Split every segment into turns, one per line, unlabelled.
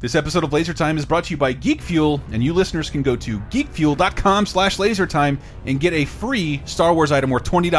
This episode of Laser Time is brought to you by Geek Fuel, and you listeners can go to geekfuel.com slash lasertime and get a free Star Wars item worth $20.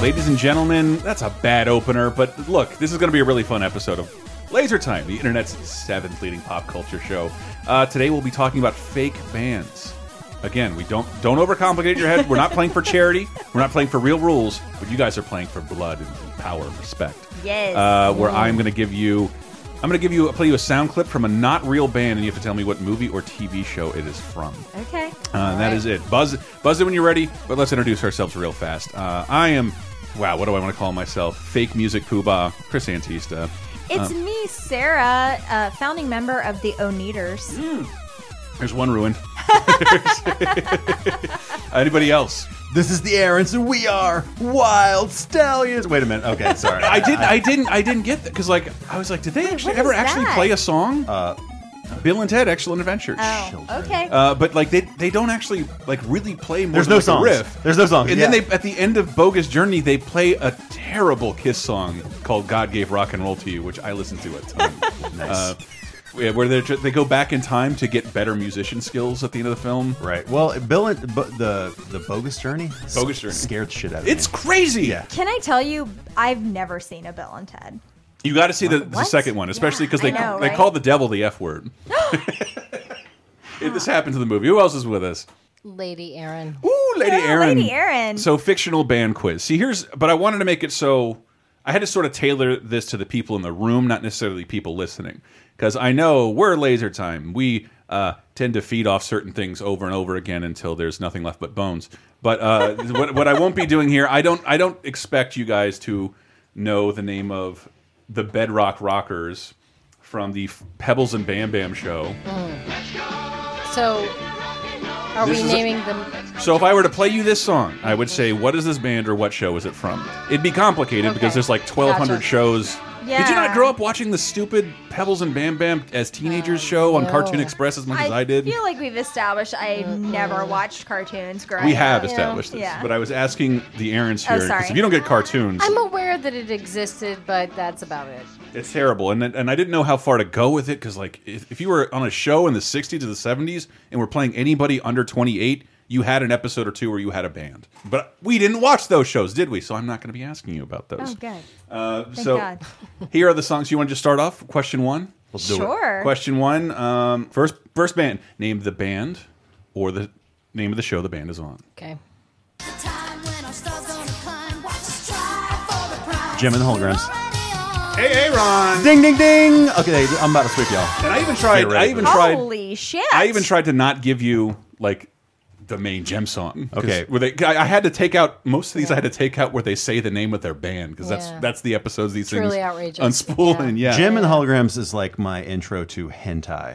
Ladies and gentlemen, that's a bad opener, but look, this is going to be a really fun episode of Laser Time, the internet's seventh leading pop culture show. Uh, today we'll be talking about fake bands. Again, we don't don't overcomplicate your head. We're not playing for charity. We're not playing for real rules, but you guys are playing for blood and power and respect.
Yes.
Uh, where I'm going to give you, I'm going to give you, play you a sound clip from a not real band, and you have to tell me what movie or TV show it is from.
Okay.
Uh, and that is it. Buzz, buzz it when you're ready. But let's introduce ourselves real fast. Uh, I am, wow, what do I want to call myself? Fake music poobah, Chris Antista.
It's
uh.
me, Sarah, uh, founding member of the Oneaters.
There's one ruined. Anybody else?
This is the Aaron's, and we are Wild Stallions. Wait a minute. Okay, sorry.
I didn't. I didn't. I didn't get that because, like, I was like, did they actually
what
ever
is
actually
that?
play a song? Uh, Bill and Ted: Excellent Adventures.
Oh,
Children.
okay.
Uh, but like they they don't actually like really play more
There's
than,
no
like, a
songs.
riff.
There's no songs,
And
yeah.
then they at the end of Bogus Journey they play a terrible Kiss song called God Gave Rock and Roll to You, which I listen to a ton.
Nice.
Uh, yeah, where they they go back in time to get better musician skills at the end of the film.
right. Well, Bill and bu- the the bogus journey.
Bogus Journey.
scared the shit out of
It's
me.
crazy.
Yeah.
Can I tell you, I've never seen a Bill and Ted.
You got to see the, the
What?
second one, especially
Yeah,
because
I
they
know,
they
right?
call the devil the F word. If this happened to the movie. Who else is with us?
Lady Aaron.
Ooh, Lady
Yeah,
Erin.
Lady Erin.
So fictional band quiz. See, here's but I wanted to make it so I had to sort of tailor this to the people in the room, not necessarily people listening, because I know we're laser time. We uh, tend to feed off certain things over and over again until there's nothing left but bones. But uh, what, what I won't be doing here, I don't I don't expect you guys to know the name of the Bedrock Rockers from the Pebbles and Bam Bam show.
So, are
This
we
is a-
naming them?
So if I were to play you this song, I would say, what is this band or what show is it from? It'd be complicated because
Okay.
there's like 1,200
Gotcha.
shows. Did you not
Yeah.
grow up watching the stupid Pebbles and Bam Bam as teenagers show on
no.
Cartoon Express as much as I did?
feel like we've established I never watched cartoons growing
we have
up.
established this,
Yeah.
but I was asking the errands here 'cause
sorry.
if you don't get cartoons,
I'm aware that it existed, but that's about it.
it's terrible. And then- and I didn't know how far to go with it because like if, if you were on a show in the 60s or the 70s and were playing anybody under 28. You had an episode or two where you had a band, but we didn't watch those shows, did we? So I'm not going to be asking you about those.
Oh, good.
Uh, so
God.
here are the songs you want to just start off. Question one.
Let's do it.
Sure.
Question one. Um, first, first band. Name the band or the name of the show the band is on.
Okay.
Jim and the Holograms.
Hey, hey, Ron.
Ding ding ding. Okay, I'm about to sweep y'all.
And I even tried.
Get ready
I even
for this.
tried.
Holy shit.
I even tried to not give you like the main gem song. 'Cause
Okay.
where they, I, I had to take out most of these. I had to take out where they say the name of their band because
Yeah.
that's that's the episodes these
really
things
outrageous.
unspooling. Yeah.
Jim and the Holograms is like my intro to hentai.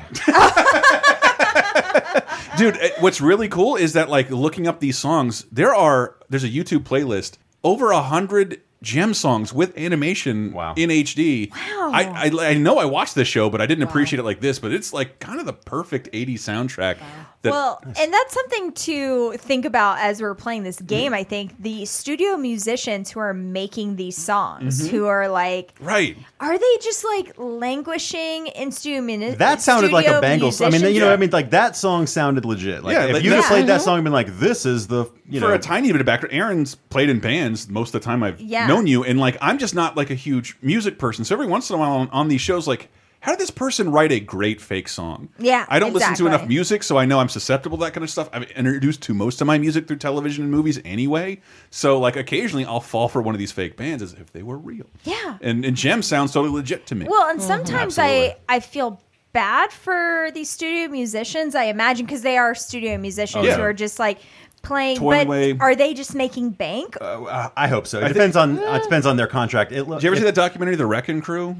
dude uh, what's really cool is that like looking up these songs there are there's a youtube playlist over a hundred gem songs with animation
Wow.
in hd wow. I, I i know i watched this show but i didn't appreciate it like this but it's like kind of the perfect 80s soundtrack that
well, and that's something to think about as we're playing
Mm-hmm.
this game. I think the studio musicians who are making these songs,
Mm-hmm.
who are like
right
Are they just like languishing in studio mini-
That sounded like a
studio
bangle. song. I mean,
musicians? Mm-hmm.
you know, what I
Yeah.
mean, like that song sounded legit. Like
Yeah,
if
like
you
that-
just played that song and been like, "This is the," you
for
know,
a tiny bit of background, Aaron's played in bands most of the time I've
Yeah.
known you, and like I'm just not like a huge music person. So every once in a while on, on these shows, like, how did this person write a great fake song?
Yeah,
I don't listen
exactly.
to enough music, so I know I'm susceptible to that kind of stuff. I'm introduced to most of my music through television and movies anyway, so like occasionally I'll fall for one of these fake bands as if they were real.
Yeah.
and and Gem sounds totally legit to me.
Well,
Oh,
and sometimes I
Absolutely.
I feel bad for these studio musicians. I imagine because they are studio
Oh,
musicians
yeah.
who are just like playing.
Toiling
but
away.
are they just making bank?
Uh, I hope so. It depends on
Mm.
it depends on their contract. It,
Did you ever see that documentary, The Wrecking Crew?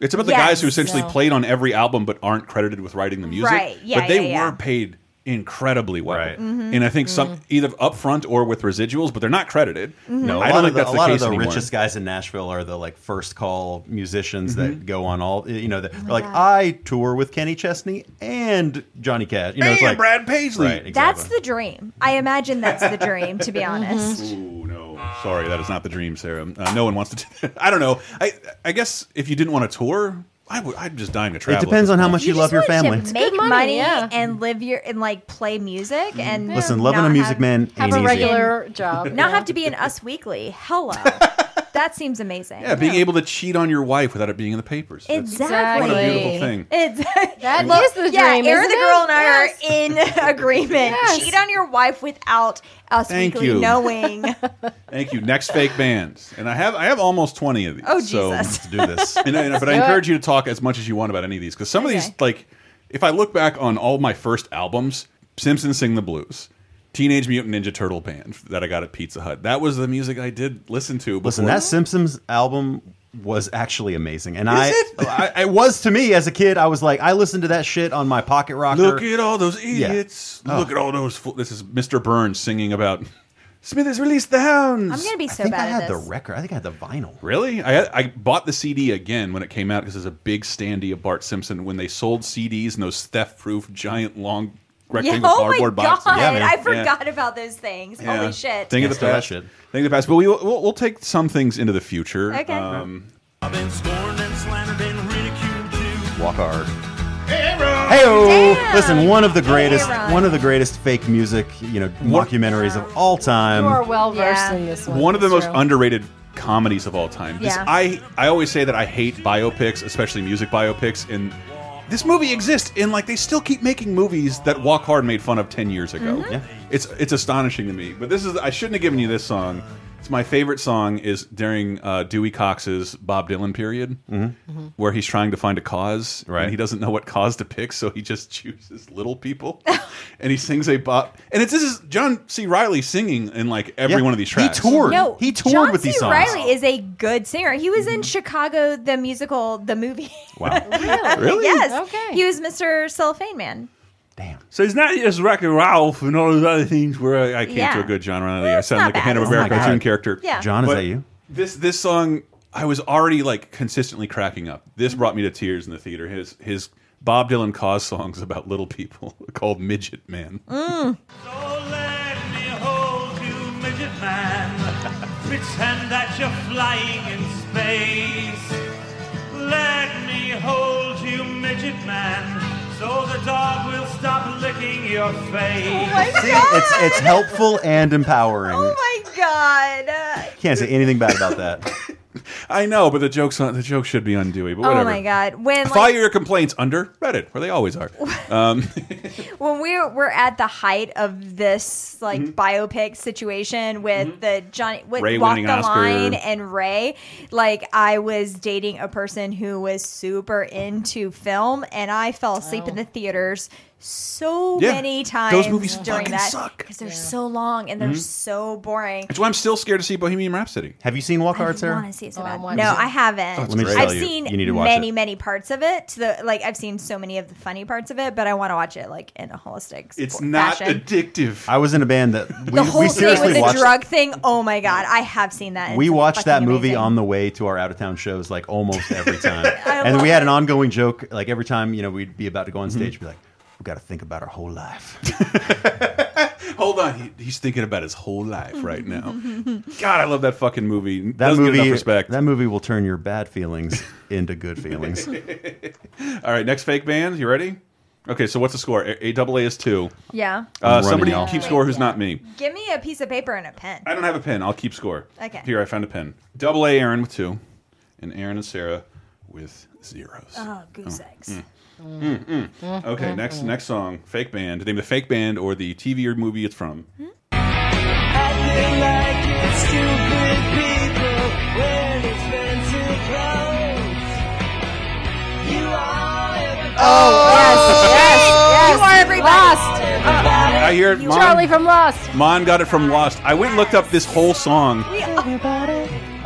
It's about the
Yes.
guys who essentially
No.
played on every album but aren't credited with writing the music.
Right. Yeah, Mm-hmm.
but they
yeah, yeah.
were paid incredibly well. Mm-hmm.
Right.
And I think some either upfront or with residuals, but they're not credited.
Mm-hmm.
No, a
I
lot
don't
of
think
the,
that's
a
the
lot of
case
the
anymore.
richest guys in Nashville are the like first call musicians
Mm-hmm.
that go on all. You know, they're like
Oh God.
I tour with Kenny Chesney and Johnny Cash. You know, it's
And
like
Brad Paisley.
Right, exactly. Mm-hmm.
That's the dream. I imagine that's the dream, to be honest.
Ooh, no. Sorry, that is not the dream, Sarah. Uh, no one wants to. do that. I don't know. I I guess if you didn't want to tour, I would. I'm just dying to
It
travel.
depends on how much you,
just
love your
wanted
family.
To
good
make money,
money, yeah.
and live your and like play music and
Mm-hmm. Listen,
not
loving a music
have-
man
Have
ain't
a
easy.
regular job.
not
yeah.
have to be in Us Weekly. Hello, that seems amazing.
Yeah, being able to cheat on your wife without it being in the papers. That's-
exactly.
What a
Exactly.
beautiful thing.
It's
That
Well,
is the
yeah,
dream,
Aaron
isn't
the
it?
girl and I
Yes.
are in agreement.
Yes.
Cheat on your wife without Us
Thank
Weekly
you.
knowing.
Thank you. Next fake bands, and I have I have almost twenty of these.
Oh
so-
Jesus.
to do this.
And, I- and- but I
do it.
encourage you to talk as much as you want about any of these because some of these,
Okay.
like, if I look back on all my first albums, Simpsons Sing the Blues, Teenage Mutant Ninja Turtle band that I got at Pizza Hut, that was the music I did listen to.
Listen,
before-
that Simpsons album was actually amazing, and I,
Is
I it was to me as a kid. I was like, I listened to that shit on my pocket rocker.
Look at all those idiots.
Oh.
Look at all those. Fo this is Mr. Burns singing about Smith has released the hounds.
I'm gonna be
I
so
think
bad
I
at
had the
this.
record. I think I had the vinyl.
Really? I, I bought the CD again when it came out because there's a big standee of Bart Simpson when they sold CDs in those theft-proof, giant, long,
yeah,
rectangle
oh my
cardboard
god!
boxes.
Yeah, man.
I
Yeah.
forgot about those things.
Yeah.
Holy shit!
Thing
Yeah,
of the
still that
past.
shit.
Thing of the past. But we will, we'll, we'll take some things into the future.
Okay.
Um,
I've been scorned and slandered and ridiculed too.
Walk hard. Hey,
Damn.
listen, one of the greatest,
Aaron.
one of the greatest fake music, you know, mockumentaries of all time.
You are well versed
Yeah.
in this one.
one of the
it's
most
true.
underrated comedies of all time. This,
Yeah.
I I always say that I hate biopics, especially music biopics, and this movie exists and like they still keep making movies that Walk Hard made fun of 10 years ago.
Mm-hmm.
Yeah.
It's it's astonishing to me. But this is I shouldn't have given you this song. It's my favorite song is during uh, Dewey Cox's Bob Dylan period,
Mm-hmm.
where he's trying to find a cause,
Mm-hmm. Right.
And he doesn't know what cause to pick, so he just chooses little people, and he sings a Bob. And it's this is John C. Riley singing in like every
Yeah.
one of these
He
tracks.
toured.
No,
He toured
John
with
C.
these songs. Mm-hmm.
Riley is a good singer. He was in Chicago, the musical, the movie.
Wow.
Really?
yes,
Okay.
he was Mr. Cellophane Man.
Damn.
So it's not just Wreck and Ralph and all those other things where I, I can't
Yeah.
do a good John Riley.
Well,
I
it's
sound
not
like a
bad.
Hanna Barbera
It's not
cartoon
bad.
character.
Yeah.
John, is
But
that you?
This this song I was already like consistently cracking up. This brought me to tears in the theater. His his Bob Dylan cause songs about little people called Midget Man.
Mm.
So let me hold you, midget man. Pretend that you're flying in space. Let me hold you, midget man. So the dog will stop licking your face.
See, it's it's helpful and empowering.
Oh my god! Uh,
Can't say anything bad about that.
I know, but the joke's on the joke should be on Dewey, but
Oh
whatever.
my god! When
File
like,
your complaints under Reddit, where they always are.
when we were at the height of this like biopic situation with the Johnny with
Mm-hmm. Ray
Walk
winning
the
Oscar.
Line and Ray, like I was dating a person who was super into film, and I fell asleep in the theaters so
Yeah.
many
Those
times
movies
during
fucking
that
suck. Mm-hmm.
because they're so long and they're so boring.
That's why I'm still scared to see Bohemian Rhapsody.
Have you seen Walk
I
Hard, Sarah?
wanna see it so
Oh,
bad.
I want
No,
to.
I haven't.
Oh,
it's Let me great.
I've
tell you,
seen
you need to watch
many,
it.
many parts of it. To the like, I've seen so many of the funny parts of it, but I want to watch it like in a holistic.
It's
sport-
not
fashion.
addictive.
I was in a band that we,
the whole
we
thing
seriously
with the
watched.
drug thing. Oh my god, I have seen that.
we watched that movie on the way to our out of town shows like almost every time. and
love
we had an
it.
ongoing joke like every time, you know, we'd be about to go on stage, be like, we got to think about our whole life.
Hold on, he, he's thinking about his whole life right now. God, I love that fucking movie.
That
Doesn't get
movie
enough respect.
That movie will turn your bad feelings into good feelings.
All right, next fake band. You ready? Okay, so what's the score? A double A AA is two. Uh,
Yeah,
I'm running
somebody
off.
keep score who's not me.
give me a piece of paper and a pen.
I don't have a pen. I'll keep score.
Okay.
Here, I found a pen. Double A Aaron with two, and Aaron and Sarah with zeros. Mm.
Oh, goose eggs.
okay, next next song. Fake band. Name the fake band or the TV or movie it's from.
Mm.
Acting like it's stupid people when it's meant to close. You are
Yes, yes.
You are everybody.
Lost. Uh,
everybody.
I hear it.
You-
Mon,
Charlie from Lost.
Mon got it from Lost. I went and looked up this whole song.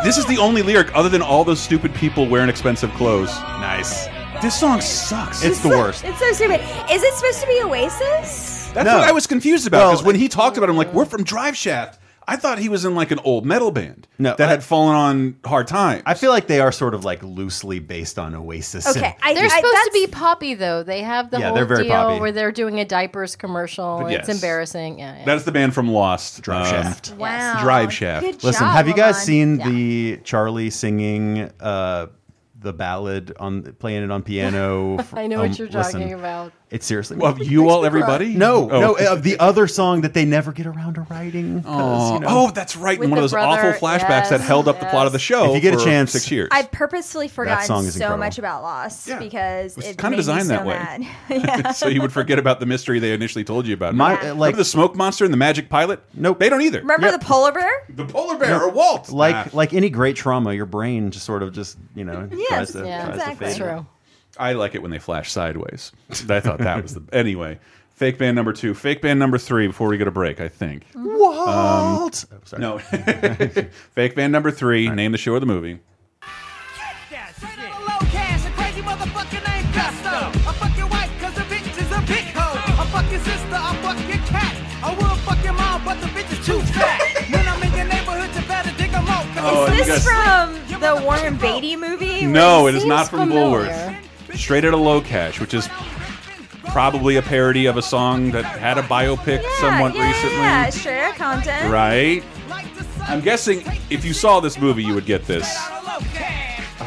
This is the only lyric other than all those stupid people wearing expensive clothes.
nice.
This song sucks.
It's the worst.
It's so stupid. Is it supposed to be Oasis?
That's
No.
what I was confused about
Well-
because when he talked about, it, I'm like, we're from Drive Shaft. I thought he was in like an old metal band
No,
that
I-
had fallen on hard times.
I feel like they are sort of like loosely based on Oasis. and-
Okay, I,
They're
I,
supposed to
that's-
be poppy though. They have the
Yeah,
whole
they're very
deal
poppy.
where they're doing a diapers commercial.
But
It's
yes.
embarrassing. Yeah, yeah.
That's the band from Lost,
Drive
um,
Shaft.
Wow.
Drive Shaft.
Good
Listen,
job,
have you guys
Milan.
seen the Charlie singing uh, the ballad on playing it on piano?
I know
Um,
what you're
listen,
talking about.
It's seriously
Of you all, everybody?
no,
Oh.
no, of the other song that they never get around to writing. 'cause,
Oh,
you know,
oh, that's right. In
With
one of
the
those awful
brother,
flashbacks that
yes,
held up the plot of the
yes.
show.
If you get a
for
chance-
six years.
I've purposefully forgotten
song is
so
incredible.
much about Lost
Yeah.
because
It was
it
kinda
made
designed
me so
that way.
mad. yeah.
so you would forget about the mystery they initially told you about.
My-
remember,
uh, like-
Remember the smoke monster and the magic pilot?
Nope.
they don't either.
Remember
Yep.
the polar bear?
the polar bear or Walt? Ah.
like
Nah.
like any great trauma, your brain just sort of just you know tries to,
yeah,
tries
exactly.
to
That's
fade.
true.
I like it when they flash sideways. I thought that was the anyway. Fake band number two, fake band number three. Before we get a break, I think.
Mm-hmm.
Walt. Oh, sorry.
Um, No, fake band number three. Name the show or the movie.
Straight out of low cash, a crazy motherfucker named Gusto. I fuck your wife, cause the bitch is a big hoe. I fuck your sister, I fuck your cat. I would fuck your mom, but the bitch is too fat. when I'm in your neighborhood, you better dig 'em out.
Oh,
Cause
you
Is
guys-
this from the Warren Beatty movie?
No,
It
it is not
seems
from
familiar.
Bullworth. Straight out of Low Cash, which is probably a parody of a song that had a biopic
Yeah,
somewhat
yeah,
recently.
Yeah, straight out of content.
Right?
I'm
I'm guessing if you saw this movie, you would get this.
this.
Oh,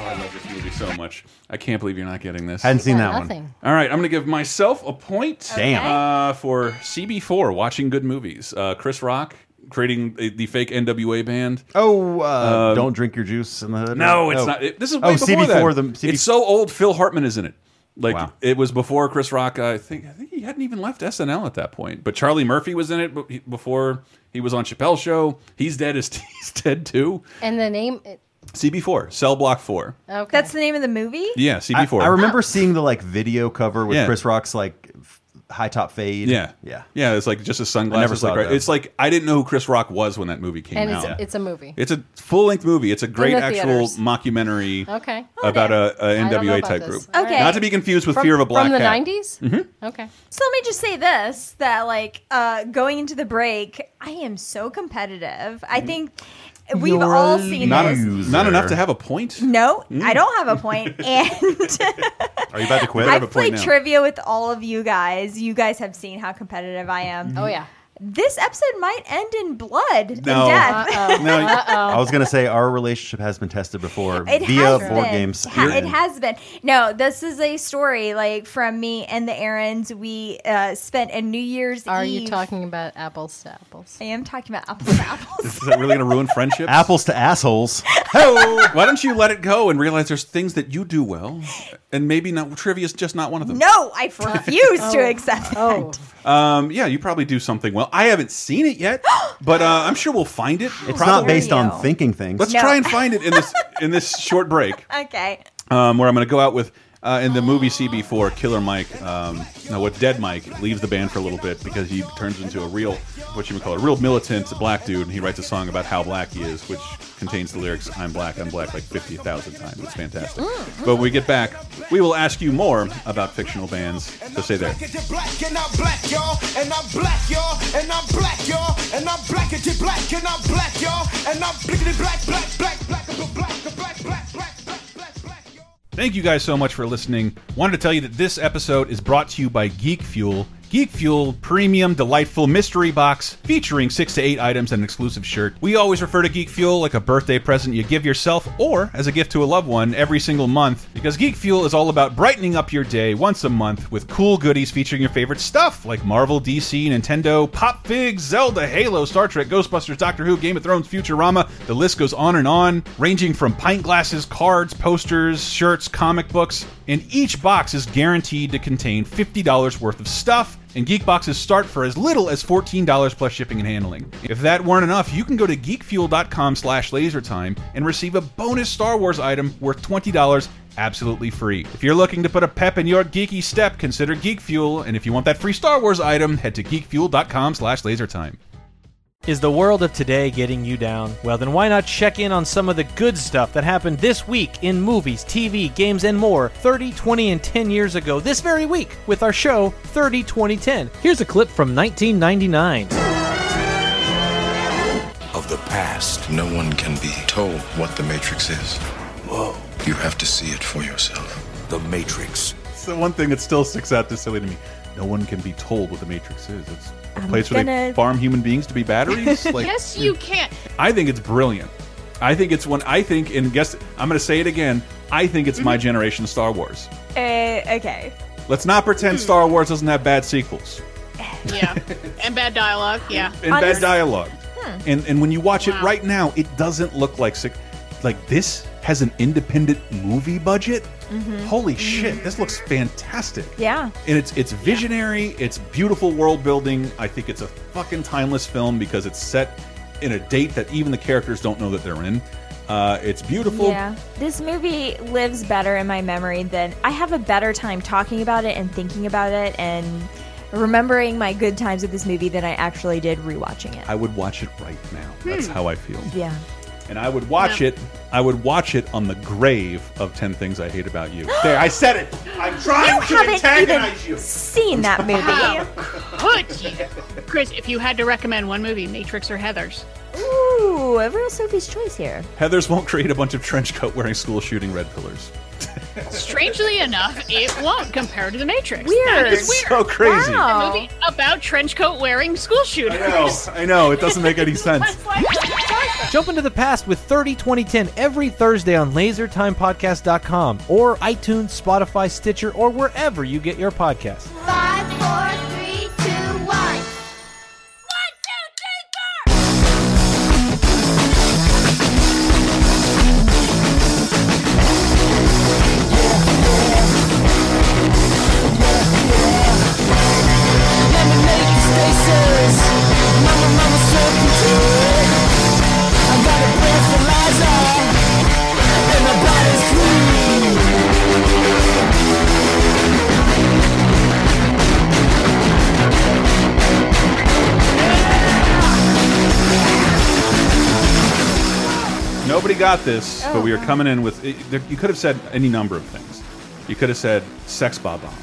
I love this movie so much. I can't believe you're not getting this.
hadn't seen
Yeah,
that one.
nothing.
All right, I'm going to give myself a point.
Damn.
Uh, for CB4, watching good movies. Uh, Chris Rock creating the, the fake NWA band.
Oh, uh, don't drink your juice in the hood.
Um, No, it's
Oh.
not. It, this is way
oh
before
CB4
that.
the CB4
It's so old. Phil Hartman is in it. Like
Wow.
it was before Chris Rock. I think I think he hadn't even left SNL at that point. But Charlie Murphy was in it be- before he was on Chappelle's show. He's dead. Is he's dead too?
And the name. It,
CB4, Cell Block Four.
okay.
That's the name of the movie?
Yeah,
I,
CB4.
I remember seeing the like video cover with
Yeah.
Chris Rock's like f- high top fade.
Yeah,
yeah.
yeah. It's like just a sunglasses.
never saw
like,
it, though.
It's like I didn't know who Chris Rock was when that movie came
and
out.
it's, it's a movie.
It's a full length movie. It's a great
the
actual
theaters.
mockumentary
Okay.
about a, a
I don't know
NWA
about
type
this.
group.
All right.
Okay.
Not to be confused with Fear of a Black
from the
Cat.
90s. Mm-hmm. Okay.
So let me just say this that like uh going into the break, I am so competitive. I think we've
Mm-hmm. You're
all
a
seen
Not,
this.
Loser. Mm.
not enough to have a point.
No, I don't have a point. And
Are you about to quit?
I've played trivia with all of you guys. You guys have seen how competitive I am.
Mm-hmm.
Oh yeah.
This episode might end in blood
No.
and death.
Uh-oh.
No,
Uh-oh.
I was gonna say our relationship has been tested before
Uh-huh. It
via
has
board
been.
games.
Ha- it has been. No, this is a story like from me and the errands we uh, spent a New Year's
Are
Eve.
you talking about apples to apples?
I am talking about apples to apples.
Is that really going to ruin friendships?
Apples to assholes.
Oh, why don't you let it go and realize there's things that you do well, and maybe not trivia is just not one of them.
No, I refuse to accept that.
Oh,
Um, yeah, you probably do something well. I haven't seen it yet, but uh, I'm sure we'll find it.
It's
Probably.
not based
you?
on thinking things.
Let's
No.
try and find it in this in this short break,
Okay.
um, where I'm going to go out with. Uh, in the movie CB4, Killer Mike, um, no, what Dead Mike leaves the band for a little bit because he turns into a real, what you would call a real militant black dude, and he writes a song about how black he is, which contains the lyrics "I'm black, I'm black" like 50,000 times. It's fantastic. But when we get back, we will ask you more about fictional bands. So stay there.
Black and you're black and I'm black, y'all. And I'm black, y'all. And I'm black, y'all. And I'm black and you're black and I'm black, y'all. And I'm blickety black, black, black, black, black, black, black, black, black, black, black, black, y'all.
Thank you guys so much for listening. Wanted to tell you that this episode is brought to you by Geek Fuel. Geek Fuel premium delightful mystery box featuring 6 to 8 items and an exclusive shirt. We always refer to Geek Fuel like a birthday present you give yourself or as a gift to a loved one every single month because Geek Fuel is all about brightening up your day once a month with cool goodies featuring your favorite stuff like Marvel, DC, Nintendo, Pop Figs, Zelda, Halo, Star Trek, Ghostbusters, Doctor Who, Game of Thrones, Futurama. The list goes on and on, ranging from pint glasses, cards, posters, shirts, comic books, and each box is guaranteed to contain $50 worth of stuff. And geek boxes start for as little as $14 plus shipping and handling. If that weren't enough, you can go to geekfuel.com slash lasertime and receive a bonus Star Wars item worth $20 absolutely free. If you're looking to put a pep in your geeky step, consider Geek Fuel, and if you want that free Star Wars item, head to geekfuel.com slash lasertime.
Is the world of today getting you down? Well, then why not check in on some of the good stuff that happened this week in movies, TV, games, and more 30, 20, and 10 years ago this very week with our show 30, 20, 10. Here's a clip from 1999.
of the past. No one can be told what the Matrix is. Whoa. You have to see it for yourself. The Matrix.
It's the one thing that still sticks out this silly to me. No one can be told what the Matrix is. It's a
I'm
place where they
gonna-
farm human beings to be batteries. Like,
Yes, you can't.
I think it's brilliant. I think it's one. I think, and guess I'm going to say it again. I think it's
Mm-hmm.
my generation Star Wars.
Uh, okay.
Let's not pretend
Mm.
Star Wars doesn't have bad sequels
Yeah. and bad dialogue. Yeah.
and bad
Honest- Hmm.
dialogue. And and when you watch it right now, it doesn't look like sick. Like this has an independent movie budget. Holy shit! This looks fantastic.
Mm-hmm. Yeah.
and it's it's visionary. It's beautiful world building. I think it's a fucking timeless film because it's set in a date that even the characters don't know that they're in. Uh, it's beautiful.
Yeah. This movie lives better in my memory than I have a better time talking about it and thinking about it and remembering my good times with this movie than I actually did rewatching it.
I would watch it right now. That's how I feel.
Hmm. Yeah.
And I would watch it. I would watch it on the grave of Ten Things I Hate About You. there, I said it. I'm
You
trying to
haven't even
antagonize you.
seen that movie.
Could you? Chris, if you had to recommend one movie, Matrix or Heathers?
Ooh, everyone's Sophie's choice here.
Heather's won't create a bunch of trench coat wearing school shooting red pillars.
Strangely enough, it won't compare to The Matrix.
Weird.
That is
It's
weird.
So crazy.
A
Wow.
movie about trench coat wearing school
I
shooters.
know. I know. It doesn't make any sense.
It's like-
Jump into the past with 30, 20, 10 every Thursday on lasertimepodcast.com or iTunes, Spotify, Stitcher, or wherever you get your podcasts.
Five, four, three, two, one. One, two, three, four. Let me make you stay serious. Mama, mama, so confused. I got a breath for Liza, and my body's clean.
Nobody got this, but
Uh-huh.
we are coming in with. It, there, you could have said any number of things. You could have said Sex Bob Bomb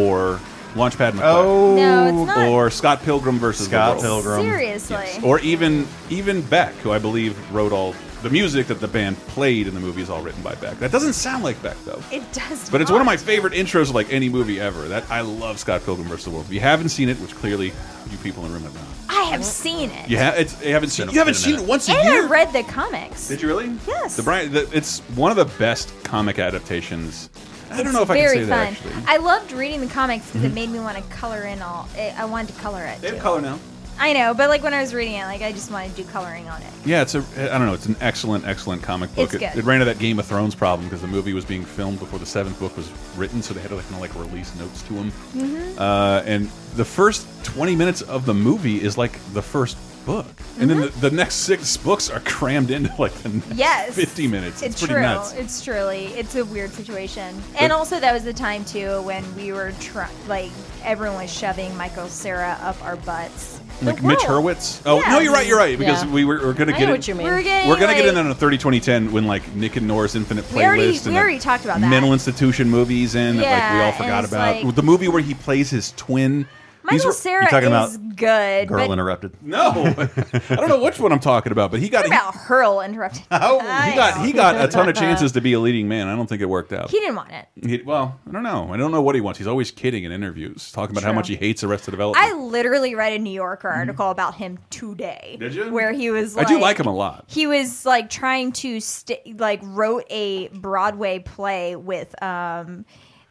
or Launchpad McCoy.
Oh,
No, it's not.
Or Scott Pilgrim versus
Scott
the World.
Pilgrim.
Seriously.
Or even even Beck, who I believe wrote all the music that the band played in the movie is all written by Beck. That doesn't sound like Beck though.
It does.
But it's one of
not.
my favorite intros of like any movie ever. That I love Scott Pilgrim versus the World. If you haven't seen it, which clearly you people in the room have not.
I have seen it.
You, ha it's, you haven't seen
Been a-
You haven't
been a
seen it
minute.
once a
And
year.
I read the comics.
Did you really?
Yes.
The Brian, the, it's one of the best comic adaptations. I don't know if I can
Very
say
fun.
that actually. Mm-hmm.
I loved reading the comics because it made me want to color in all. It, I wanted to color it.
they have
too.
color now.
I know, but like when I was reading it, like I just wanted to do coloring on it.
Yeah, it's a. I don't know. It's an excellent, excellent comic book.
It's
it,
good.
it ran into that Game of Thrones problem because the movie was being filmed before the seventh book was written, so they had to like kind of like release notes to them.
Mm-hmm.
Uh, and the first twenty minutes of the movie is like the first book, and then the, the next six books are crammed into like the next
Mm-hmm. Yes.
fifty minutes. It's,
It's,
pretty
true.
nuts.
It's truly. It's a weird situation.
But-
And also, that was the time too when we were try- like everyone was shoving Michael Sarah up our butts.
like
The
Mitch
world.
Hurwitz. Oh
Yeah.
no, you're right. You're right because
Yeah.
we were, we're gonna
I
get
know
it.
what you mean.
We're getting.
We're gonna get
like-
in on a 30 20 10 when like Nick and Nora's Infinite Playlist
We already- we
and the
already talked about that.
mental institution movies in that like we
Yeah,
all
and
forgot
it's
about
like-
the movie where he plays his twin. These
Michael
were-
Sarah
talking
is good.
Girl
but
interrupted.
No, I don't know which one I'm talking about, but he got
what about Hurl interrupted?
oh,
I
he got he
know.
got a ton of chances to be a leading man. I don't think it worked out.
He didn't want it.
He- well, I don't know. I don't know what he wants. He's always kidding in interviews, talking about how
True.
much he hates Arrested Development.
I literally read a New Yorker article about him today.
Mm-hmm. Did you?
Where he was.
I
Like,
do like him a lot.
He was like trying to st- like wrote a Broadway play with um.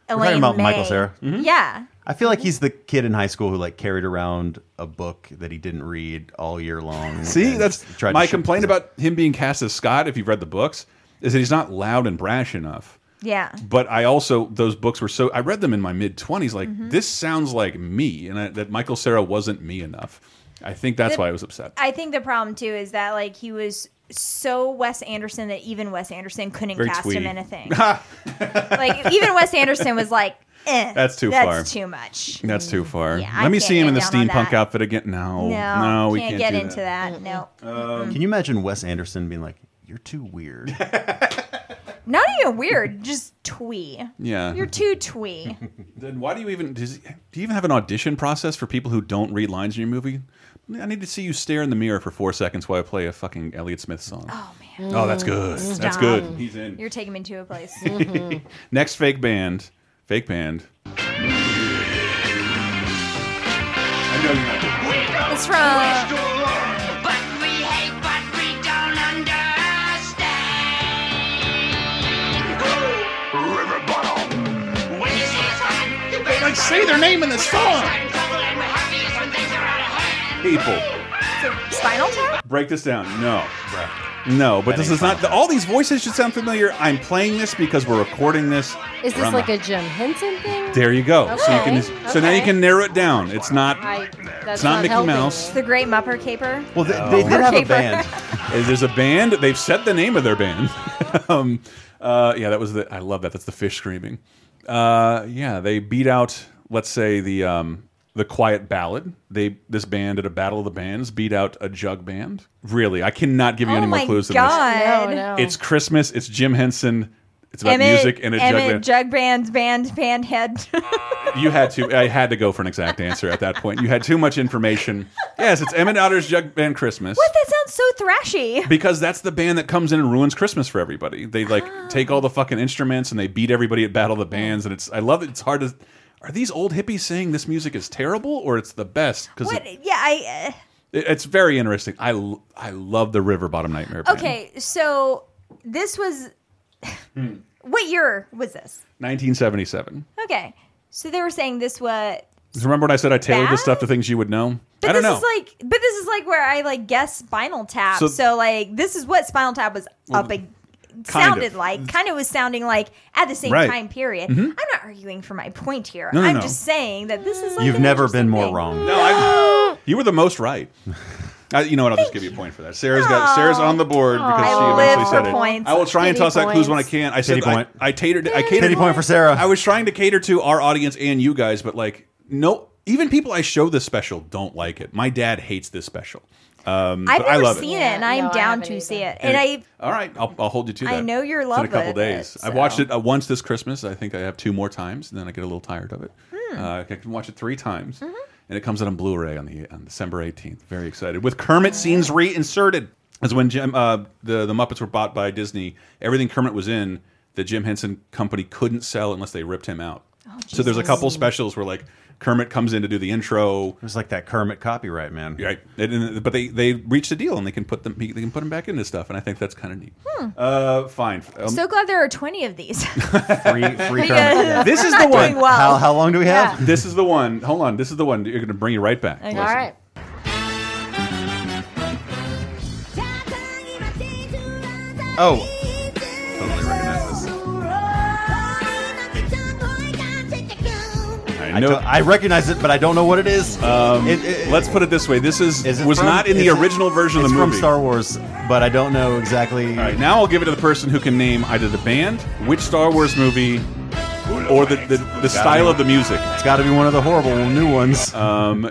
We're talking
Elaine
about
May.
Michael Cera?
Mm-hmm.
Yeah.
I feel
Mhm.
like he's the kid in high school who like carried around a book that he didn't read all year long.
See,
and
that's
tried to
my
ship-
complaint about him being cast as Scott. If you've read the books, is that he's not loud and brash enough.
Yeah.
But I also those books were so I read them in my mid twenties. Like
Mm-hmm.
this sounds like me, and I, that Michael Sarah wasn't me enough. I think that's
The-
why I was upset.
I think the problem too is that like he was so Wes Anderson that even Wes Anderson couldn't
Very
cast
twee.
him in a thing. like even Wes Anderson was like, Eh,
That's too
that's
far.
too much.
That's too far.
Mm, Yeah, I
Let me see him
can't
in the
get down on
steampunk
that.
outfit again. No,
No,
no, we
can't,
can't,
get
do
into that. No,
Can you imagine Wes Anderson being like, "You're too weird"?
not even weird. Just twee.
Yeah.
you're too twee.
Then why do you even does, do you even have an audition process for people who don't read lines in your movie? I need to see you stare in the mirror for four seconds while I play a fucking Elliott Smith song. Oh man. Oh, that's good. That's
Stop.
good. He's in.
You're taking me to a place.
Next fake band. Fake band. I know you're not.
it's from
But we hate what we don't understand. They like say their name in the song.
People.
Spinal Tap.
Break this down. No. No, but this is not. All these voices should sound familiar. I'm playing this because we're recording this.
Is this
We're on
like
the-
a Jim Henson thing?
There you go. So you can.
Okay,
So now you
okay.
can narrow it down. It's not.
I, that's
It's not Mickey
helping
Mouse.
me.
The Great Mupper Caper.
Well, they, they did
Or
have a
Caper.
band.
There's a band. They've said the name of their band. um, uh, yeah, that was the. I love that. That's the fish screaming. Uh, yeah, they beat out. Let's say the um, the Quiet Ballad. They this band at a battle of the bands beat out a jug band. Really, I cannot give you
Oh
any more
my
clues than this.
god.
No, no.
It's Christmas. It's Jim Henson. It's about
Emmett,
music and a jug
Emmett
band.
jug band, band, band head.
You had to. I had to go for an exact answer at that point. You had too much information. Yes, it's Emmett Otter's Jug Band Christmas.
what? That sounds so thrashy.
Because that's the band that comes in and ruins Christmas for everybody. They like
Ah.
take all the fucking instruments and they beat everybody at Battle of the Bands. And it's I love it. It's hard to. Are these old hippies saying this music is terrible or it's the best? Because
What?
it,
Yeah, I.
it- it's very interesting. I l- I love the River Bottom Nightmare.
Uh,
Band.
okay, so this was.
Hmm.
what year was this?
1977.
Okay, so they were saying this was.
So Remember when I said I tailored
Bad?
this stuff to things you would know?
But
I don't
this
know.
is like, but this is like where I like guess Spinal Tap.
So-
So, like, this is what Spinal Tap was up ag- sounded
of.
like. Kind of was sounding like at the same
Right.
time period.
Mm-hmm.
I'm not arguing for my point here.
No, no,
I'm
no.
just saying that this is. Like
You've
an
never
interesting
been more
thing.
wrong.
No, I, you were the most right. I, you know what? I'll just give you a point for that. Sarah's got
Aw.
Sarah's on the board because
I
she
live
eventually
for
said it.
points.
I will try and
Pity
toss out clues when I
points.
can. I
Pity
said
point.
I, I tatered. I catered.
Pity point for Sarah.
I was trying to cater to our audience and you guys, but like no, even people I show this special don't like it. My dad hates this special. Um,
I've
but I
never
love it.
seen it,
Yeah,
and I am
no, I
down
haven't
to
either.
see it.
And
And
it-
I
All right, I'll, I'll hold you to that.
I know your
It's
love
in a couple
of it,
days. I've watched
so-
it uh, once this Christmas. I think I have two more times, and then I get a little tired of it.
Hmm.
Uh, I can watch it three times,
Mm-hmm.
and it comes out on Blu-ray on the on December eighteenth. Very excited with Kermit scenes reinserted. As when Jim, uh, the the Muppets were bought by Disney, everything Kermit was in, the Jim Henson company couldn't sell unless they ripped him out.
Oh,
so there's a couple specials where like Kermit comes in to do the intro.
It was like that Kermit copyright man.
Right, And- and- but they they reached a deal and they can put them they can put them back into stuff, and I think that's kind of neat. Uh, fine. Um,
so glad there are 20 of these.
Free, free Kermit.
Yeah.
this is
I'm
the
not doing
one.
well.
How, how long do we have?
This is the one. Hold on. This is the one. You're going to bring you right back.
Okay.
All right.
Oh,
Totally recognize this. I
I,
know.
don't- I recognize it, but I don't know what it is. Um, it, it-
Let's put it this way. This is,
is it
was
from-
not in the
is it-
original version of
it's
the movie.
from Star Wars, but I don't know exactly.
All right. Now I'll give it to the person who can name either the band, which Star Wars movie, or the the, the style of the music.
It's got to be one of the horrible new ones.
Um,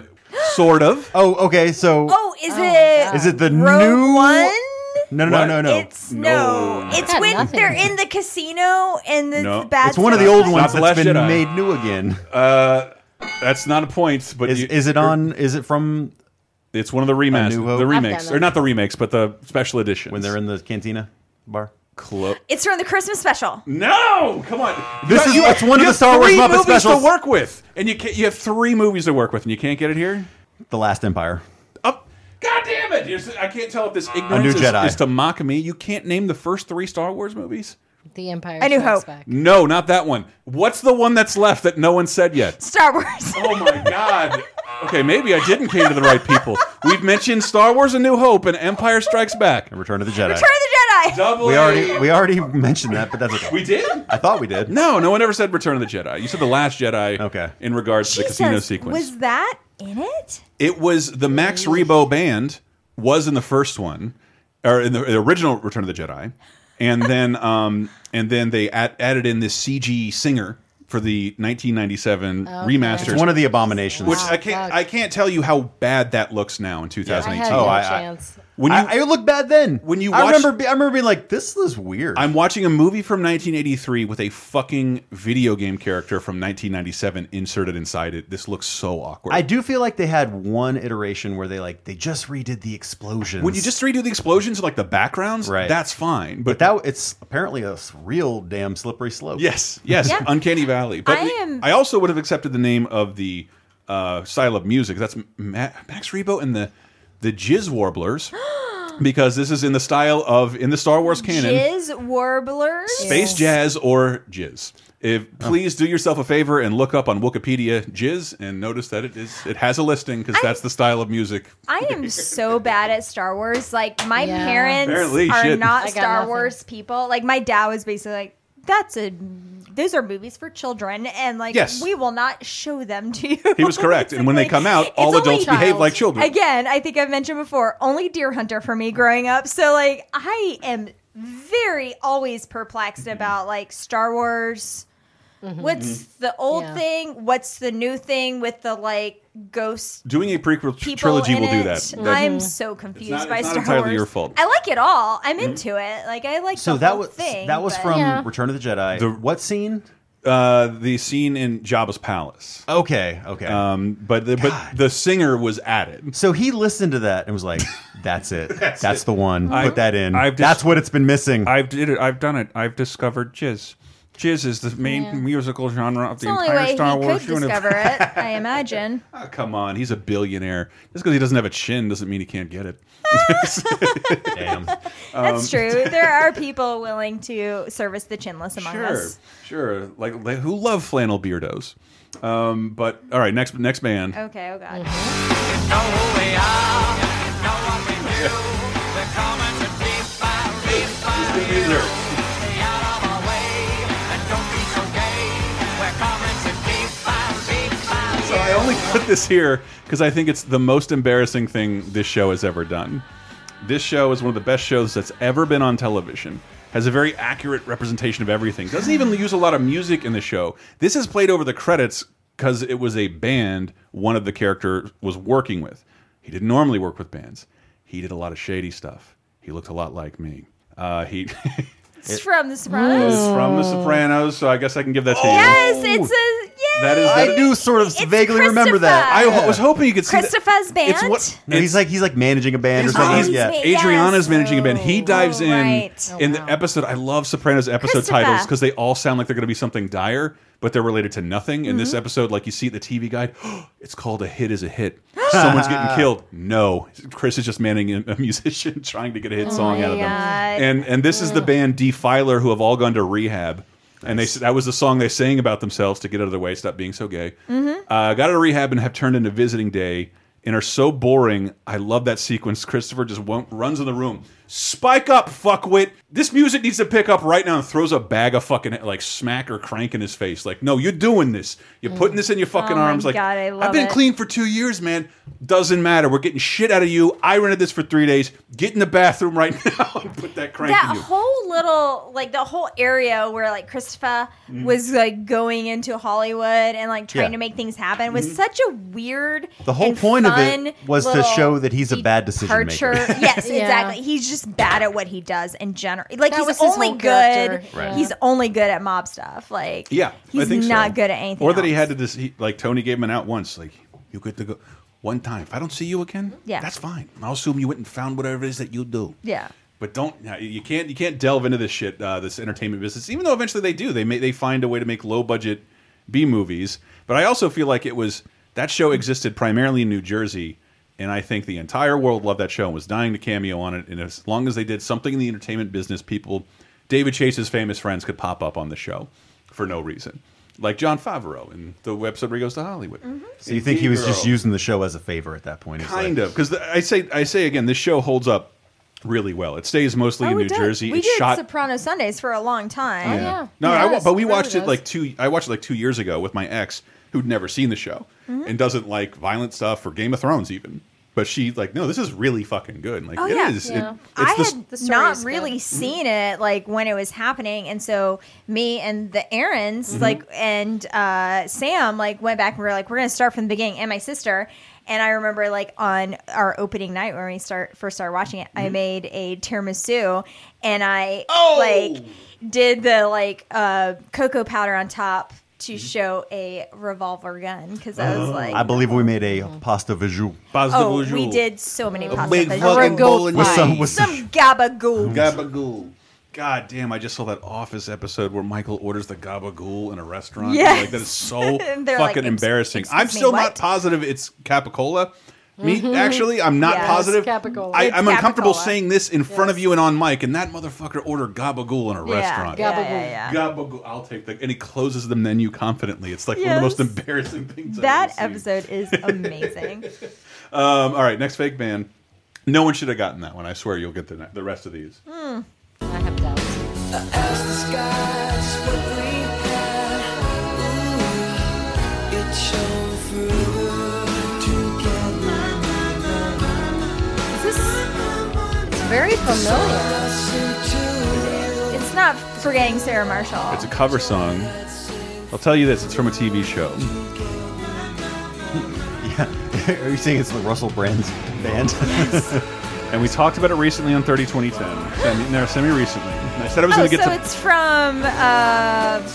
sort of.
oh, okay. So
oh, is it?
is it the
Rogue
new
One?
No, no,
What?
no, no, no.
It's no.
No.
It's
Got
when
nothing.
they're in the casino and the
No.
bad.
It's one of the old ones
The
that's
Last
been
Jedi.
made new again.
Uh, that's not a point. But
Is,
you-
is it
you're-
on? Is it from
It's one of the remakes.
A New Hope?
The
I've
done
remakes,
that.
or not the remakes, but the special editions.
when they're in the cantina bar?
close.
It's from the Christmas special.
No, come on.
This
You-
is-
you-
that's one of
you
the
have
Star Wars
three
Muppet
movies
specials.
to work with, and you can't, you have three movies to work with, and you can't get it here.
The Last Empire.
Up. God damn it! You're s- I can't tell if this
Oh, New
ignorance is,
Jedi.
is to mock me. You can't name the first three Star Wars movies.
The Empire
A New
Strikes
Hope.
Back.
No, not that one. What's the one that's left that no one said yet?
Star Wars.
Oh my god. Okay, maybe I didn't cater to the right people. We've mentioned Star Wars: A New Hope and Empire Strikes Back.
and Return of the Jedi.
Return of the Jedi.
Double
we
A.
already we already mentioned that, but that's okay.
we did.
I thought we did.
No, no one ever said Return of the Jedi. You said the Last Jedi.
Okay.
In regards to the casino
Jesus,
sequence,
Was that in it?
It was the Max Rebo band was in the first one, or in the, the original Return of the Jedi, and then um, and then they ad added in this CG singer for the 1997
Okay.
remasters.
It's one of
the abominations.
Which
Wow,
I can't.
fuck.
I can't tell you how bad that looks now in 2018.
I had no chance.
Oh, when you,
I, I look bad then.
When you
I
watch-
remember, be- I remember being like, "This is weird."
I'm watching a movie from 1983 with a fucking video game character from 1997 inserted inside it. This looks so awkward.
I do feel like they had one iteration where they like they just redid the explosions.
when you just redo the explosions, like the backgrounds,
Right.
that's fine. But,
but that it's apparently a s- real damn slippery slope.
yes, yes,
Yeah.
Uncanny Valley. But
I
the-
am-
I also would have accepted the name of the uh, style of music. That's Ma Max Rebo and the the Jizz Warblers, because this is in the style of in the Star Wars canon.
Jizz warblers.
Space jazz or jizz. If please do yourself a favor and look up on Wikipedia jizz and notice that it is it has a listing because that's the style of music.
I am so bad at Star Wars. Like my
Yeah.
parents
Apparently,
are
shit.
I
not
got
Star
nothing.
Wars people. Like my dad was basically like, "That's a, those are movies for children, and like
Yes.
we will not show them to you."
He was correct, and when they come out,
It's
all
only
adults behave
child.
like children.
Again, I think I've mentioned before, only Deer Hunter for me growing up. So like I am very always perplexed about like Star Wars. What's
Mm-hmm.
the old
Mm-hmm. Yeah.
thing? What's the new thing with the like ghost
Doing a prequel tr-
people
trilogy
in
will do
it.
that. That-
I'm so confused
It's not-
by
it's not
Star
entirely
Wars.
your fault.
I like it all. I'm
Mm-hmm.
into it. Like I like
So
the
that
whole
was
thing.
that was
but-
from
Yeah.
Return of the Jedi.
The-
what scene?
uh, the scene in Jabba's palace,
Okay, okay.
um, but the, but the singer was added.
so he listened to that and was like, "That's it. that's the one.
I-
Put that in.
I've just-
that's what it's been missing."
I've did it. I've done it. I've discovered jizz. Jizz is the main
Yeah.
musical genre of
It's the only way he could discover it, I imagine.
Ah, come on, he's a billionaire. Just because he doesn't have a chin doesn't mean he can't get it.
Damn.
That's
Um,
true. There are people willing to service the chinless among
sure,
us.
Sure, like, like who love flannel beardos. Um, but all right, next next band.
Okay. Oh god.
Mm-hmm. So I only put this here because I think it's the most embarrassing thing this show has ever done. This show is one of the best shows that's ever been on television. Has a very accurate representation of everything. Doesn't even use a lot of music in the show. This is played over the credits because it was a band one of the characters was working with. He didn't normally work with bands. He did a lot of shady stuff. He looked a lot like me. Uh, he
It's from The Sopranos.
is from The Sopranos, so I guess I can give that to you.
Yes, it's a yeah.
That is-
I do sort of
It's
vaguely remember that.
I
Christopher.
ho- was hoping you could see. that.
Christopher's band.
It's what
No, he's like he's like managing a band or
He's-
something.
he's-
yeah.
ma- yes.
Adriana's managing a band. He dives
Oh,
in
right.
in
Oh,
the
wow.
episode. I love Sopranos episode
Christopher.
titles because they all sound like they're going to be something dire, but they're related to nothing. In this
Mm-hmm.
episode, like you see the TV guide, it's called "A Hit Is a Hit." Someone's getting killed. No, Chris is just manning a a musician trying to get a hit song out of them.
Oh God.
And and this is the band Defiler who have all gone to rehab. And they that was the song they sang about themselves to get out of their way, stop being so gay.
Mm-hmm.
Uh, got out of rehab and have turned into visiting day and are so boring. I love that sequence. Christopher just won't, runs in the room. Spike up, fuckwit. This music needs to pick up right now and throws a bag of fucking like smack or crank in his face. Like, no, you're doing this. You're putting this in your fucking
Oh my
arms. Like,
God, I love
have been
it.
clean for two years, man. Doesn't matter. We're getting shit out of you. I rented this for three days. Get in the bathroom right now and put that crank
that
in you.
whole little like the whole area where like Christopher was like going into Hollywood and like trying
Yeah.
to make things happen was such a weird.
The whole
and
point of it
fun
was to
little
show that he's a bad decision maker.
departure. yes,
Yeah.
exactly. He's just bad at what he does in general. Like
That was
he's
his
only
whole
good.
character. Right.
He's only good at mob stuff. Like
Yeah, I
he's
think so.
not good at anything.
Or that he
else.
had to just he, like Tony gave him an out once, like you get to go one time. If I don't see you again,
Yeah.
that's fine. I'll assume you went and found whatever it is that you do.
Yeah.
But don't yeah, you can't you can't delve into this shit, uh, this entertainment business. Even though eventually they do, they may, they find a way to make low budget B movies. But I also feel like it was that show existed primarily in New Jersey, and I think the entire world loved that show and was dying to cameo on it. And as long as they did something in the entertainment business, people, David Chase's famous friends could pop up on the show for no reason, like John Favreau in the episode where he goes to Hollywood.
So you think he was just
using
using the show as a favor at that point? He's like,
kind of because I say I say again, this show holds up really well. It stays mostly in
Oh, we
New
did-
Jersey.
We
It's
did
shot.
Soprano Sundays for a long time.
yeah. yeah.
No, I, wa-
Yes,
but we
remember
watched it
those.
like two. I watched it like two years
Mm-hmm.
ago with my ex, who'd never seen the show and doesn't like violent stuff or Game of Thrones even. But she like, no, this is really fucking good. And, Like
oh
it
yeah,
is- it-
I
it's the
had
s-
not really
Mm-hmm.
seen it like when it was happening, and so me and the Aaron's
Mhm.
like and uh, Sam like went back and we were like, we're gonna start from the beginning, and my sister. And I remember, like on our opening night when we start first started watching it,
Mm-hmm.
I made a tiramisu, and I
Oh!
like did the like uh, cocoa powder on top
Mm-hmm.
to show a revolver gun because I
Oh.
was like,
I believe we made a pasta vajou. Pasta
oh, we did so many pasta
big
dishes.
fucking bowl of
With some,
rice.
with some,
some gabagool.
Gabagool. God damn! I just saw that Office episode where Michael orders the gabagool in a restaurant.
Yes.
like that is so fucking
And they're like, "Ex-
embarrassing. I'm
excuse me,
still not
what?" Mm-hmm.
positive it's capicola. Me
Mhm.
actually, I'm not
Yes,
positive.
capicola.
I,
It's
I'm uncomfortable
capicola.
saying this in front of you and on mic, and that motherfucker ordered gabagool in a
Yeah,
restaurant.
yeah, yeah, yeah.
Gabagool. I'll take that. And he closes the menu confidently. It's like one of
Yes.
the most embarrassing things. I've
That
ever seen.
episode is amazing.
Um, all right, next fake ban. No one should have gotten that one. I swear you'll get the ne- the rest of these.
Hmm.
I have doubts.
This
It's very familiar.
is- it's not forgetting Sarah Marshall.
It's a cover song. I'll tell you this: it's from a TV show.
yeah. Are you saying it's the Russell Brand's band?
and we talked about it recently on 30 2010. Semi, no, semi recently. And I said I was
oh,
going to get
so
to.
it's from uh,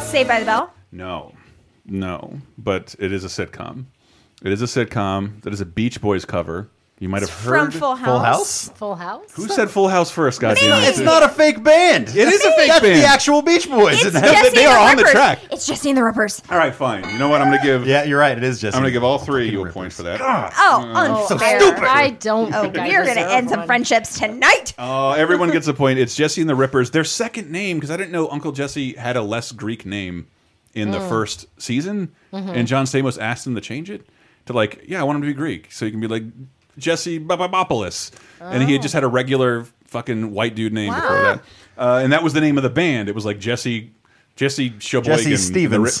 Saved by the Bell.
No, no, but it is a sitcom. It is a sitcom that is a Beach Boys cover. You might have
From
heard
Full House.
Full House.
Who said Full House first? Goddamn it.
It's not a fake band.
It is a fake
That's
band.
the actual Beach Boys.
It's Jesse They are and the on the Rippers. track.
It's Jesse and the Rippers.
All right, fine. You know what? I'm going to give.
Yeah, you're right. It is Jesse.
I'm going to give all three of you a point for that.
Oh,
Mm.
unfair.
I don't.
Oh,
think I
we are going to
deserve
end some
one.
friendships tonight.
Oh, everyone gets a point. It's Jesse and the Rippers. Their second name, because I didn't know Uncle Jesse had a less Greek name in the
Mm.
first season,
Mhm.
and John Stamos asked him to change it to like, yeah, I want him to be Greek, so you can be like Jesse Bababopoulos, and he had just had a regular fucking white dude name before that, uh, and that was the name of the band. It was like Jesse. Jesse Sheboygan
Jesse Stevens.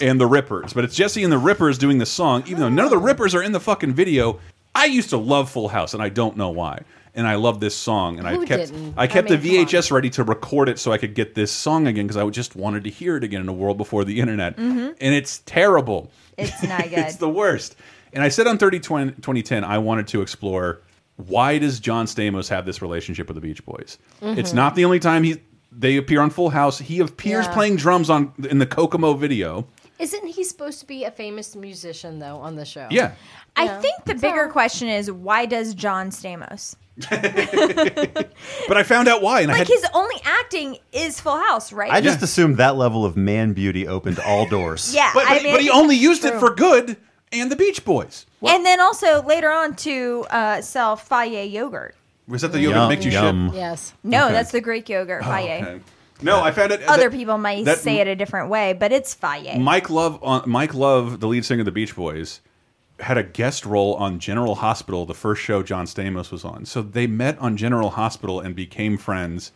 and the, and the Rippers, but it's Jesse and the Rippers doing the song, even though none of the Rippers are in the fucking video. I used to love Full House, and I don't know why. And I love this song, and I
Who
kept
didn't?
I
I
kept
mean,
the VHS ready to record it so I could get this song again because I just wanted to hear it again in a world before the internet.
Mhm.
And it's terrible.
It's not
it's
good.
the worst. And I said on 30 20, 2010 I wanted to explore why does John Stamos have this relationship with the Beach Boys?
Mhm.
It's not the only time he they appear on Full House. He appears
Yeah.
playing drums on in the Kokomo video.
Isn't he supposed to be a famous musician though on the show?
Yeah.
I think the bigger question is why does John Stamos?
But I found out why and I had
Like his only acting is Full House, right?
I just assumed that level of man beauty opened all doors.
Yeah,
But-
I
but-
mean,
but he only used it
true.
for good and the Beach Boys.
And then also later on to uh, sell Faye yogurt.
Was that the yoga that
Yum,
makes you
yum.
shit?
Yes. No,
Okay.
that's the Greek yogurt,
Oh,
Faye.
okay. No, I found it. uh,
Other
that-
people might
that-
say it a different way, but it's Faye.
Mike Love, on, Mike Love, the lead singer of the Beach Boys, had a guest role on General Hospital, the first show John Stamos was on. So they met on General Hospital and became friends.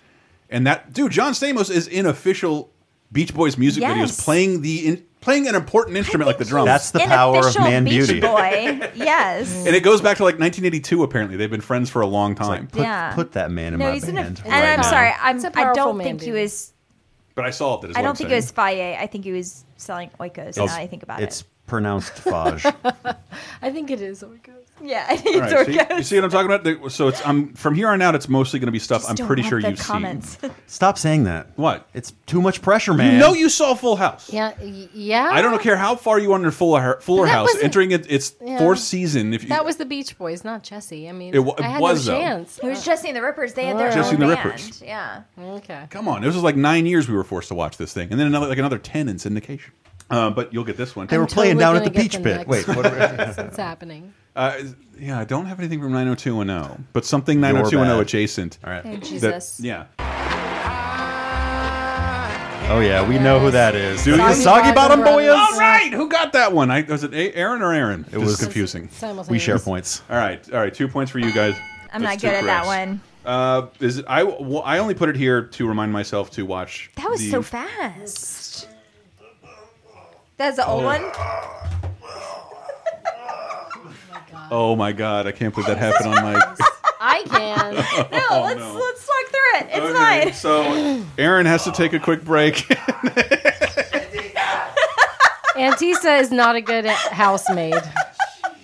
And that dude, John Stamos, is in official Beach Boys music
Yes.
videos, playing the in, playing an important instrument like the drums.
That's the power of man
Beach
beauty.
Boy. yes.
And it goes back to like 1982. Apparently, they've been friends for a long time.
put- Yeah. put
that man
No, he's in a, and
Right
I'm
now.
sorry, I'm,
It's a
I
powerful
don't
man,
think he
dude.
was.
But I solved it. Is
I
what
don't
I'm
think
saying.
it was Faye. I think he was selling oikos. Now that I think about
it's
it.
pronounced fage.
I think it is. oh Oikos.
Yeah, I think
All
it's
right, so you-
oikos.
you, see what I'm talking about? They- So it's I'm from here on out. It's mostly going to be stuff I'm
Don't
pretty
want
sure
the
you've
comments.
Stop saying that.
What?
It's too much pressure,
seen.
man.
You know you saw Full House.
Yeah. y- Yeah.
I don't care how far you are under Fuller, Fuller
But that
House,
wasn't-
entering it, its
Yeah.
fourth season. If you,
That was the Beach Boys, not Jesse. I mean,
It wa-
I had
was,
no
though.
chance. Oh,
It was Jesse and the Rippers. They had their
Jesse
own
and the
band.
Rippers.
Yeah.
Okay.
come on, this was like nine years we were forced to watch this thing, and then another like another ten in syndication. Uh, but you'll get this one.
They were I'm playing totally down at gonna the get Peach the Pit. next Wait, one. what
Yes, it's happening.
Uh, yeah, I don't have anything from 90210, but something
Your
90210
bad.
adjacent. All right.
Oh, Jesus.
yeah.
Oh yeah, we know who that is.
Do
That's
you?
the Soggy Bottom Boys.
All right, who got that one? I, was it A- Aaron or Aaron? It
was-
confusing.
We share points.
All right, all right, two points for you guys.
I'm
That's
not good
two
at that
corrects.
one.
Uh, is it, I well, I only put it here to remind myself to watch.
That was
the-
so fast. That's the old
Oh.
one.
Oh my god, I can't believe that happened on my.
I can.
no,
Oh,
let's
no.
let's talk through it. It's
Okay,
fine.
So Aaron has to take a quick break.
Antisa is not a good housemaid.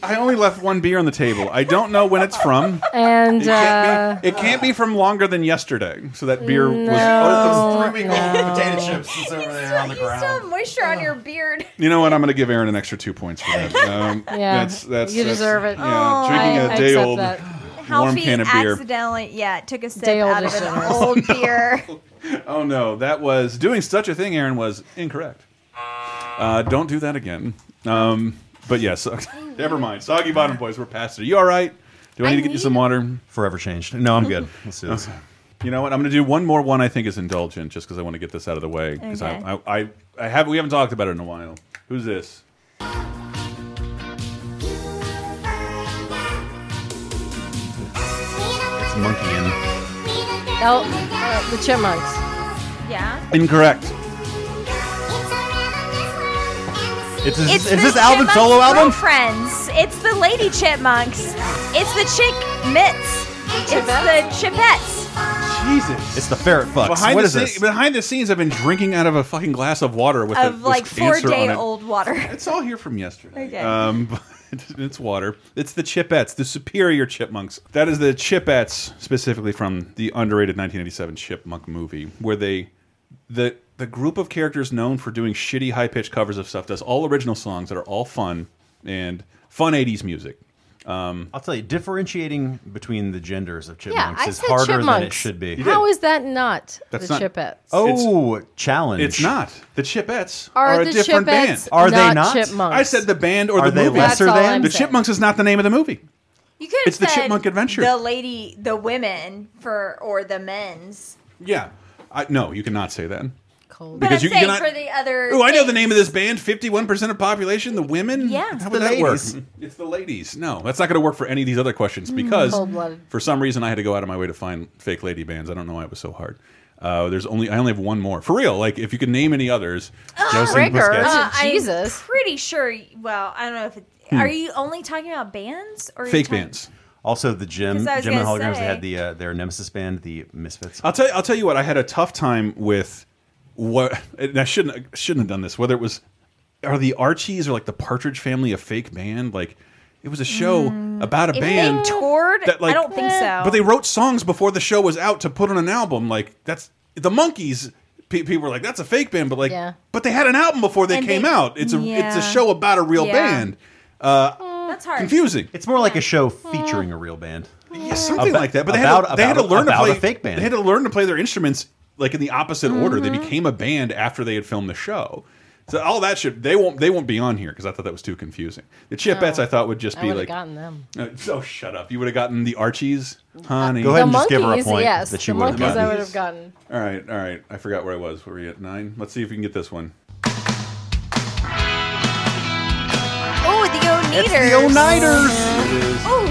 I only left one beer on the table. I don't know when it's from.
And
It can't,
uh,
be, it can't be from longer than yesterday. So that beer
No.
was.
Oh,
it was
no.
potato chips is over there on the
You still have
ground.
moisture on your beard.
You know what? I'm going to give Aaron an extra two points for that. Um,
Yeah,
that's, that's,
you
that's-
deserve it.
Yeah,
Oh,
drinking
I-
a
I
day
accept
old
that.
warm can of beer.
accidentally, yeah, took a sip
Day old
out of
is
an
generous.
old beer.
Oh no, that was doing such a thing. Aaron was incorrect. Uh, don't do that again. Um, but yes, never mind. Soggy bottom boys, we're past it. You all right? Do I need to get you some water?
Forever changed. No, I'm good. Let's do this.
Okay. You know what? I'm going to do one more one. I think is indulgent, just because I want to get this out of the way. Because
Okay.
I, I, I, I have we haven't talked about it in a while. Who's this?
It's monkey in.
oh, uh, the chipmunks.
Yeah.
Incorrect.
It's his,
It's
is
the
this Alvin's
Chipmunks'
solo album?
Girlfriends. It's the Lady Chipmunks. It's the Chick Mitts. It's the Chipettes.
Jesus.
It's the ferret fucks.
Behind
what
the
is
scene-
this?
behind the scenes, I've been drinking out of a fucking glass of water with a,
Of
this
like four
answer on
day
it.
old water.
It's all here from yesterday.
Okay.
Um, but it's water. It's the Chipettes, the superior chipmunks. That is the Chipettes, specifically from the underrated 1987 Chipmunk movie, where they the the group of characters known for doing shitty high pitched covers of stuff does all original songs that are all fun and fun 80s music.
I'll tell you, differentiating between the genders of
Yeah,
chipmunks
I
is
said
harder
chipmunks.
than it should be.
How is that not
That's
the
not-
chipettes?
Oh, challenge!
It's not. The Chipettes
Are,
are, a
the
different
chipettes
band.
Are they
not
not?
chipmunks?
I said the band or
Are
the
they
movie.
lesser
all
than?
I'm
the
saying.
Chipmunks is not the name of the movie.
You could have
It's the
said
Chipmunk Adventure.
The lady, the women for or the men's.
Yeah. I, no, you cannot say that.
Cold.
But
Because
I'm
you
saying
cannot-
for the other.
Oh, I know the
things.
name of this band. Fifty-one percent of population, the women.
Yeah.
how
It's
would
the
that work?
ladies.
It's the ladies. No, that's not going to work for any of these other questions because
Cold-blooded.
for some reason I had to go out of my way to find fake lady bands. I don't know why it was so hard. Uh, there's only I only have one more for real. Like if you could name any others,
Josie
Rigor.
Busquets.
Uh,
I'm
Jesus.
pretty sure. Well, I don't know if it. Are you only talking about bands or are you
Hmm. fake
talking-
bands.
Also, the Jim
'Cause I was
Jim and
gonna
Holograms
say.
they had the uh, their nemesis band, the Misfits.
I'll tell you, I'll tell you what. I had a tough time with what and I shouldn't shouldn't have done this. Whether it was are the Archies or like the Partridge Family a fake band? Like it was a show about a
Mm. If
band.
they toured,
that, like-
I don't think so.
But they wrote songs before the show was out to put on an album. Like that's the monkeys. Pe people were like, "That's a fake band," but like,
Yeah.
but they had an album before they
And
came
they-
out. It's a it's
yeah.
a show about a real
Yeah.
band.
that's hard.
Confusing.
It's more like a show featuring a real band.
Yeah, something
About-
like that. But they had
about-
to, they had to
about-
learn to
about
play
a fake band.
They had to learn to play their instruments like in the opposite order.
Mm-hmm.
They became a band after they had filmed the show. So all that should they won't they won't be on here because I thought that was too confusing. The Chipettes I thought would just
I
be
would have
like,
gotten them.
uh, oh shut up, you would have gotten the Archies, honey.
Go ahead and
The
just give her a
monkeys,
point
yes.
that she
the
would have
monkeys I
gotten.
would have gotten.
All right, all right. I forgot where I was. Were we at nine? Let's see if we can get this one.
Oh, the O'Neaters. Oh,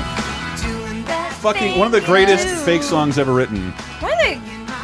Fucking one of the greatest fake songs ever written.
One of the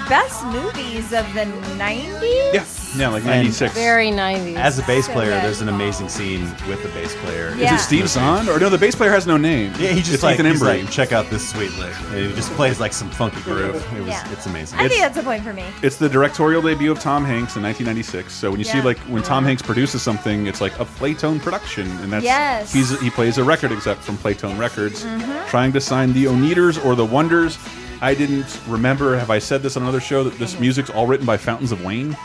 best movies of the '90s.
Yeah, yeah, like '96.
Very 90s.
As a bass
So
player,
good.
there's an amazing scene with the bass player.
Is
Yeah.
it Steve Zahn or no? The bass player has no name.
Yeah, he just
it's
like,
Ethan
he's
Embry.
like, check out this sweet lick. And he just plays like some funky groove. It was,
Yeah.
it's amazing.
I think
It's-
that's a point for me.
It's the directorial debut of Tom Hanks in 1996. So when you see
Yeah.
like when Tom Hanks produces something, it's like a Playtone production, and that's
Yes. Mm-hmm.
he's he plays a record exec from Playtone Records, trying to sign the Oneaters or the Wonders. I didn't remember. Have I said this on another show that
Mm-hmm.
this music's all written by Fountains of Wayne?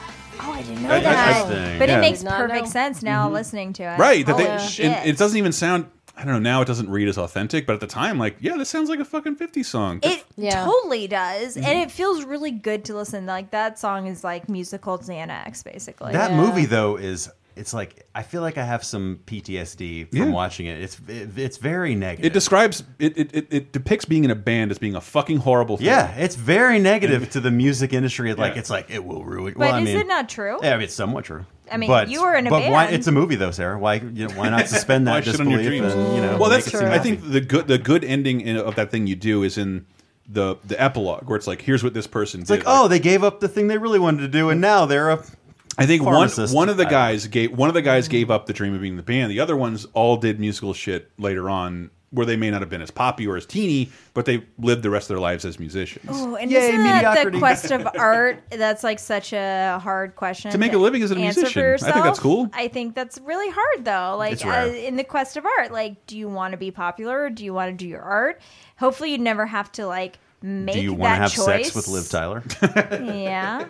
Oh, I didn't know
I- I-
that.
Interesting.
But
Yeah. Mm-hmm.
it makes
Did not
perfect
know.
sense now listening to it.
Right. That
Holy
they,
shit.
and it doesn't even sound. I don't know. Now it doesn't read as authentic, but at the time, like, yeah, this sounds like a fucking 50 song.
It
Yeah.
totally does,
Mm-hmm.
and it feels really good to listen. Like that song is like musical Xanax, basically.
That
Yeah.
movie though is it's like I feel like I have some PTSD from
Yeah.
watching it. It's it, it's very negative.
it describes it, it. it- It depicts being in a band as being a fucking horrible thing.
yeah, it's very negative to the music industry. Like
Yeah.
it's like it will ruin.
but
well, I
is
mean,
it not true?
Yeah, I mean, it's somewhat
Oh.
true.
I mean,
but,
you were in a
but Why,
band.
it's a movie though, Sarah. Why you know, why not suspend
Why
that
shit on your
disbelief?
dreams?
and, you know,
well,
make
that's.
it seem
I
happy?
think the good the good ending in, of that thing you do is in the the epilogue where it's like, here's what this person
It's like,
did.
oh, they gave up the thing they really wanted to do, and now they're a.
I think one
pharmacist.
one of the
I-
guys gave one of the guys gave up the dream of being in the band. The other ones all did musical shit later on where they may not have been as poppy or as teeny, but they lived the rest of their lives as musicians.
Ooh, Oh, and
Yay,
isn't that
mediocrity.
the quest of art? That's like such a hard question
To make a living as an
answer
musician.
For
I think
yourself.
that's cool.
I think that's really hard though. Like
It's rare.
uh, in the quest of art, like do you want to be popular or do you want to do your art? Hopefully, you never have to like make
Do you
that
want to have
choice.
sex with Liv Tyler?
Yeah,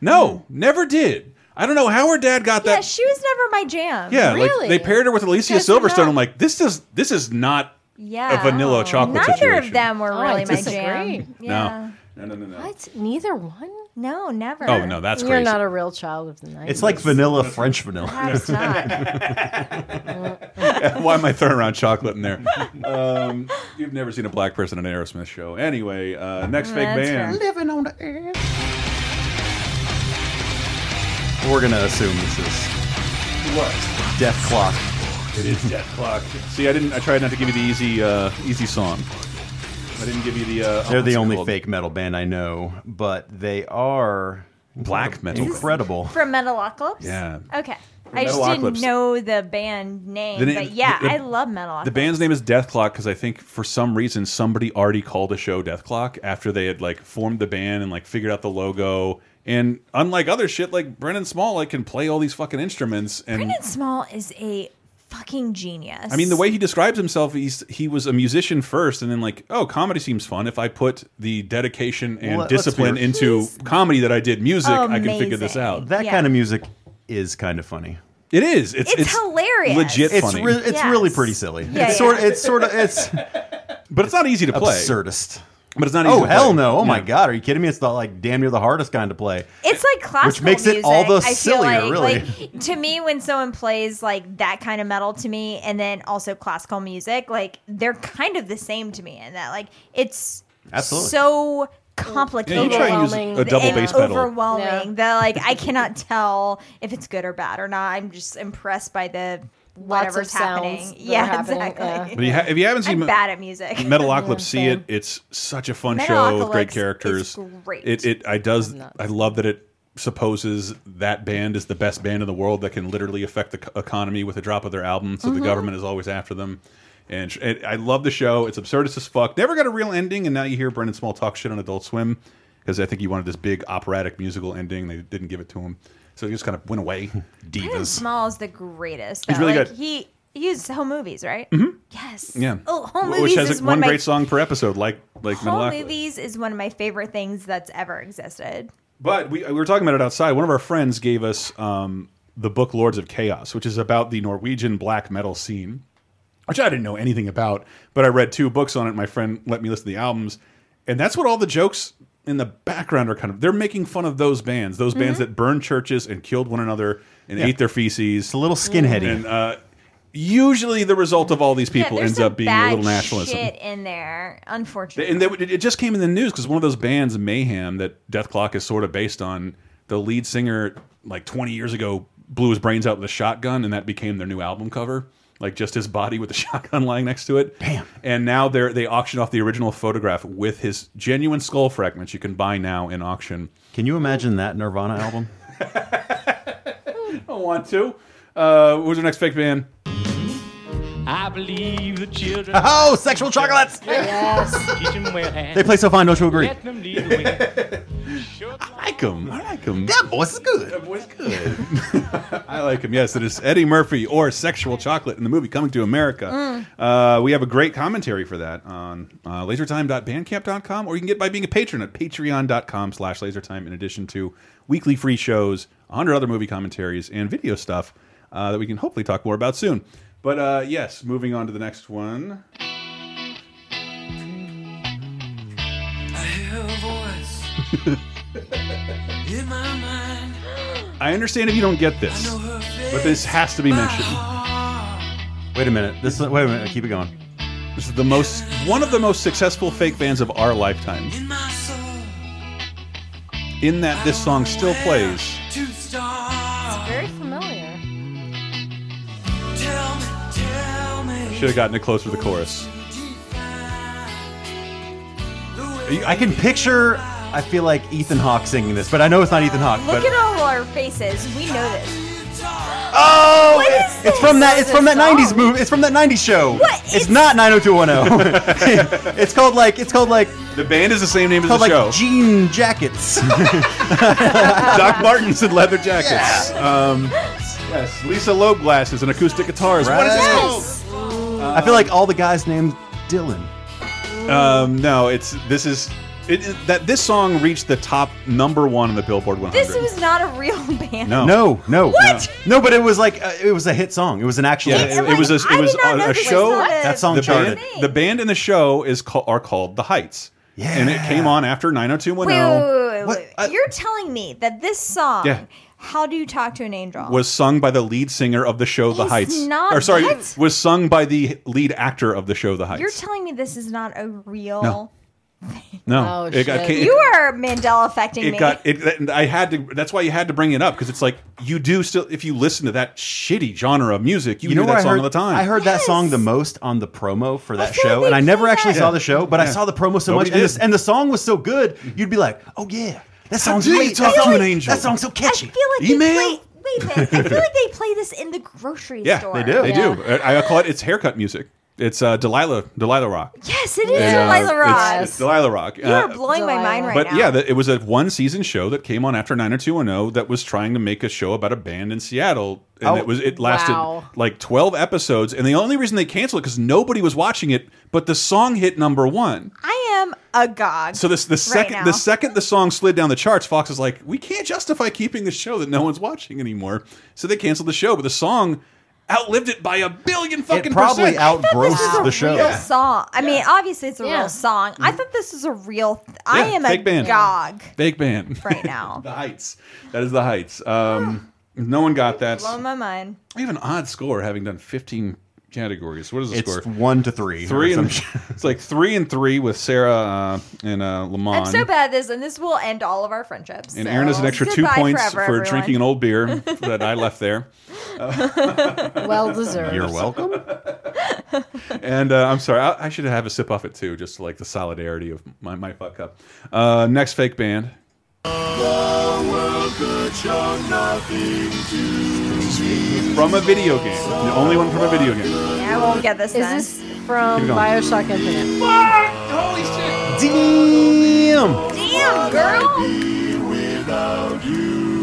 No, never did. I don't know how her dad got
yeah.
that.
She was never my jam.
yeah, like they paired her with Alicia
That's
Silverstone.
not-
I'm like, this does this is not
Yeah.
a vanilla chocolate
Neither
situation.
of them were
Oh, I
really my
disagree.
jam. Yeah.
No, no, no, no, no.
What? Neither one?
No, never.
Oh, no, that's
You're
crazy.
not a real child of the night.
It's like vanilla French vanilla.
Perhaps not.
Why am I throwing around chocolate in there? Um, you've never seen a black person at an Aerosmith show. Anyway, uh, next fake
That's
band.
Living on the earth. We're gonna assume this is
What?
Death Clock.
It is Death Clock. See, I didn't. I tried not to give you the easy, uh, easy song. I didn't give you the. Uh,
They're the
what's it
only
called?
fake metal band I know, but they are
Black metal.
incredible.
From Metalocalypse?
Yeah.
Okay. I just
Metalocalypse.
didn't know the band name,
The name-
but yeah,
the- the-
I love Metalocalypse.
The band's name is Death Clock because I think for some reason somebody already called a show Death Clock after they had like formed the band and like figured out the logo. And unlike other shit, like Brennan Small, like can play all these fucking instruments. And
Brendan Small is a fucking genius.
I mean, the way he describes himself, he's he was a musician first, and then like, oh, comedy seems fun. If I put the dedication and
Well, let's
discipline
hear-
into comedy that I did music, I can figure
Amazing.
this out.
That
Yeah.
kind of music is kind of funny.
It is. It's,
It's hilarious.
Legit
It's
It's
funny,
re- it's
Yes.
really pretty silly.
Yeah,
it's
yeah.
sort it's sort of it's
but it's not easy to play.
absurdist.
But it's not. Easy
Oh
to play.
hell no! Oh my
Yeah.
god, are you kidding me? It's the, like damn near the hardest kind to play.
It's like classical
makes it
music,
all the
I feel
sillier,
like.
really.
Like, to me, when someone plays like that kind of metal to me, and then also classical music, like they're kind of the same to me, and that like it's
Absolutely.
so
Yeah, you
complicated.
try and use
Overwhelming.
a double
and
bass pedal.
overwhelming.
Yeah.
That like I cannot tell if it's good or bad or not. I'm just impressed by the
Lots of
whatever's
sounds
happening.
that are
Yeah,
happening,
exactly.
But you ha if you haven't seen
I'm bad at music.
Metalocalypse, see it.
same.
It's such a fun show with great
Metalocalypse
characters.
is great.
It it I does
nuts.
I love that it supposes that band is the best band in the world that can literally affect the c- economy with the drop of their album. So
Mm-hmm.
the government is always after them. And sh- it, I love the show. It's absurdist as fuck. Never got a real ending, and now you hear Brendan Small talk shit on Adult Swim because I think he wanted this big operatic musical ending. They didn't give it to him, so he just kind of went away.
Brandon Small is the greatest.
He's
though.
really
Like,
good.
He he used home movies, right? Mm-hmm. Yes.
Yeah.
Oh, home
Which
movies
has
is
one,
one, of my
great song per episode, like like
Home
Metalocalypse.
movies is one of my favorite things that's ever existed.
But we, we were talking about it outside. One of our friends gave us um, the book Lords of Chaos, which is about the Norwegian black metal scene, which I didn't know anything about. But I read two books on it. My friend let me listen to the albums. And that's what all the jokes in the background are kind of. They're making fun of those bands, those bands
Mm-hmm.
that burned churches and killed one another and ate their feces.
It's a little skinheady.
And uh, usually the result of all these people
yeah, there's
ends
some
up being a
bad
little nationalism.
shit in there, unfortunately.
And they, it just came in the news because one of those bands, Mayhem, that Death Clock is sort of based on, the lead singer, like 20 years ago, blew his brains out with a shotgun, and that became their new album cover. Like just his body with the shotgun lying next to it. Damn. And now they're they auctioned off the original photograph with his genuine skull fragments you can buy now in auction.
Can you imagine that Nirvana album?
I don't want to. Uh, who's our next fake band?
I believe the children
Oh, sexual chocolates!
Yes.
teach 'em well and
They play so fine, don't you agree?
let them lead the way.
I like him. I like him.
That voice is good.
That boy's good. I like him. Yes, it is Eddie Murphy or Sexual Chocolate in the movie Coming to America. Uh, we have a great commentary for that on uh, lasertime.bandcamp.com, or you can get it by being a patron at patreon.com slash lasertime, in addition to weekly free shows, 100 other movie commentaries, and video stuff uh, that we can hopefully talk more about soon. But uh, yes, moving on to the next one. I understand if you don't get this, but this has to be mentioned.
Wait a minute. This is, wait a minute. Keep it going.
This is the most one of the most successful fake bands of our lifetime. In that this song still plays.
Very familiar.
Should have gotten it closer to the chorus.
I can picture. I feel like Ethan Hawke singing this, but I know it's not Ethan Hawke.
Look
But
at all our faces. We know this.
Oh, it's from that. It's from that '90s movie. It's from that '90s show. What? It's, not 90210. it's called like. It's called like.
The band is the same name as the
called like
show.
Jean Jackets.
Doc Martens and leather jackets. Um, yes, Lisa Loeb glasses and acoustic guitars. What is
Right.
this called?
I feel like all the guys named Dylan.
Um, no, it's this is it, it- that this song reached the top number one on the Billboard 100.
This was not a real band.
No.
No, no,
What?
no. But it was like uh, it was a hit song. It was an actual.
yeah,
hit
it,
song.
it was a, it was
not
on
know
a
this was
show.
not a-
That song
the
charted.
band, the band and the show is called are called the Heights. Yeah, and it came on after
Wait, wait,
90210
wait, wait, wait. You're telling me that this song,
Yeah.
"How Do You Talk to an Angel,"
was sung by the lead singer of the show The
It's
Heights.
not-
or sorry,
what?
was sung by the lead actor of the show The Heights.
You're telling me this is not a real.
No. no,
Oh,
it, got-
shit.
it-
You are Mandela affecting
it
me.
got it that- i had to that's why you had to bring it up because it's like you do still if you listen to that shitty genre of music you,
You
hear
know
that
what I
song
heard?
all the time
I heard that song the most on the promo for that
feel
show,
like
and I
they
never
play
actually
that.
saw the show, but I
Yeah.
saw the promo so
Nobody
much, and
did.
the, and the song was so good, you'd be like, "Oh yeah, that sounds
do you
great.
talk
that
to
song-
an angel?
That song's so
I
catchy."
feel like
Email?
they play. Wait a minute. I feel like they play this in the grocery
yeah
store.
they do they do I, I call it it's haircut music it's uh delilah delilah rock
Yes, it is
And, uh,
Delilah
it's-
Ross.
it's delilah rock
you are
Uh,
blowing my mind right
but
now.
yeah, that- it was a one season show that came on after 90210 that was trying to make a show about a band in Seattle, and
Oh.
it was it lasted
Wow.
like twelve episodes, and the only reason they canceled it because nobody was watching it, but the song hit number one.
I am agog.
So this the second
now.
the second the song slid down the charts, Fox is like, we can't justify keeping the show that no one's watching anymore. So they canceled the show, but the song outlived it by a billion fucking
it probably
percent.
this
outgrossed
is a
the show.
real song. I mean, obviously it's a
Yeah.
real song. I thought this was a real. Th- I
Mm-hmm. Yeah,
am
fake band.
agog
Fake band.
right now.
the Heights. That is the Heights. Um, no one got that.
Blowing my mind.
We have an odd score having done 15 categories. What is the
It's
score?
one to three. or
Three and
some shit.
it's like three and three with Sarah uh, and uh, Lamont.
I'm so bad at this, and this will end all of our friendships.
And
so.
Aaron is an extra two
Goodbye
points
forever,
for
everyone.
drinking an old beer that I left there.
Well deserved.
You're welcome.
And uh, I'm sorry, I, I should have a sip off it too, just like the solidarity of my, my fuck up. Uh, next fake band. From a video game. The only one from a video game.
Yeah, I won't get this.
Is
then.
this from
Keep going.
Bioshock Infinite?
Damn.
damn girl,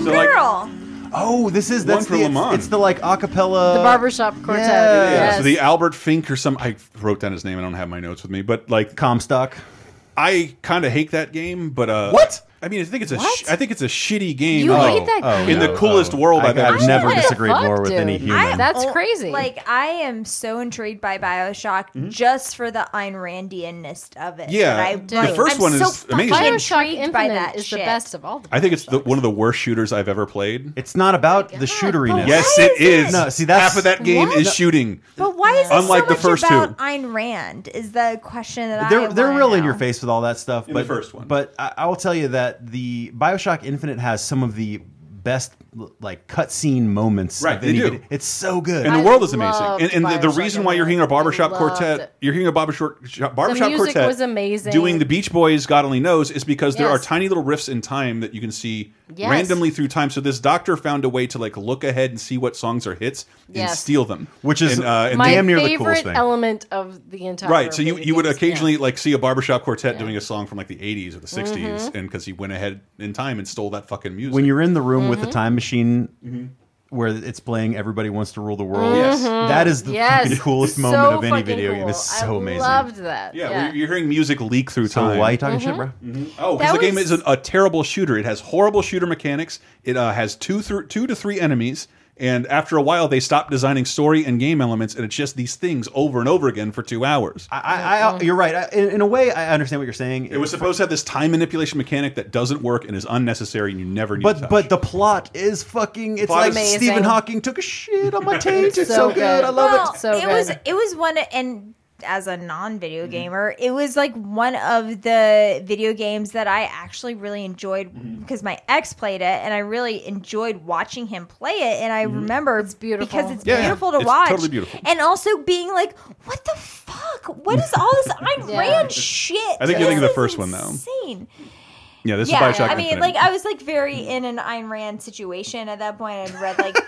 So like,
girl?
Oh, this is that's
for
the
Lamont.
it's, it's the like acapella.
The barbershop quartet.
yeah.
yeah,
Yes.
so the Albert Fink or some. I wrote down his name. I don't have my notes with me, but like
Comstock.
I kind of hate that game. But uh,
What? Oh,
I mean, I think it's a.
What?
Sh I think it's a shitty game.
You
in,
hate that
like,
game?
in the coolest world
I,
I've ever
I've never
seen.
What the
disagreed
fuck,
more with any
dude?
human.
That's
Oh,
crazy.
Like I am so intrigued by Bioshock just for the Ayn Randianness of it.
Mm-hmm. Yeah,
that I
the
learned.
first
I'm
one
so
is
fucking
amazing.
Bioshock
intrigued
Infinite
by that
is
shit.
the best of all the.
I think it's the, one of the worst shooters I've ever played.
It's not about the shooteriness.
yes, it is.
No, see, that's-
half of that game
What?
is shooting.
But why is it
Unlike
so
the
much
first two.
about Ayn Rand? Is the question that I
they're they're
wanna
real in
know.
your face with all that stuff.
In the
but
first one.
but I, I will tell you that the Bioshock Infinite has some of the best like cutscene moments.
Right,
of
they
any
do.
video- It's so good.
And the
I
world is
loved
amazing. And, and the, the
Bioshock
reason why you're
Infinite.
hearing a barbershop
I loved
quartet,
it.
you're hearing a barbershop barbershop
music
quartet
was amazing.
doing the Beach Boys. God only knows is because there are
Yes.
tiny little rifts in time that you can see
Yes.
randomly through time. So this doctor found a way to like look ahead and see what songs are hits and
Yes.
steal them,
Which is
and, uh, and
my
damn near the
favorite
coolest thing.
element of the entire
Right, so you,
video
you would
games.
occasionally
Yeah.
like see a barbershop quartet doing a song from like the 80s or
Mm-hmm.
the 60s, and because he went ahead in time and stole that fucking music.
when you're in the room
Mm-hmm.
with the time machine. Where it's playing, everybody wants to rule the world.
Mm-hmm. Yes. Mhm.
that is the
Mm-hmm. yes.
fucking coolest
So
moment of any
fucking
video game.
cool.
It's so
I
amazing.
Loved Mm-hmm. that.
yeah,
Yeah,
well, you're hearing music leak through
so
time.
why are you talking shit, bro?
Oh, because
That
the game
was-
is a, a terrible shooter. It has horrible shooter mechanics. It uh, has two through two to three enemies, and after a while, they stop designing story and game elements, and it's just these things over and over again for two hours.
I, I, I, you're right. I, in, in a way, I understand what you're saying.
it was supposed to have this time manipulation mechanic that doesn't work and is unnecessary, and you never need. to
But
touch.
but the plot is fucking. It's
plot
like
is-
Stephen
Amazing.
Hawking took a shit on my taint. It's so
So
good.
good.
I love
Well-
it.
So
it was
good.
it was one and as a non-video
Mm-hmm.
gamer, it was like one of the video games that I actually really enjoyed
Mm-hmm.
because my ex played it and I really enjoyed watching him play it and I remember it's
beautiful.
because it's
Mm-hmm. Yeah, yeah.
beautiful to
It's
watch.
totally beautiful.
And also being like, what the fuck? What is all this Ayn
Yeah.
Rand shit?
I think you're
This
thinking the
is
first one, though.
Insane.
yeah, this
Yeah,
is Bioshock. Mm.
I mean,
Infinite.
like I was like very in an Ayn Rand situation at that point. I'd read like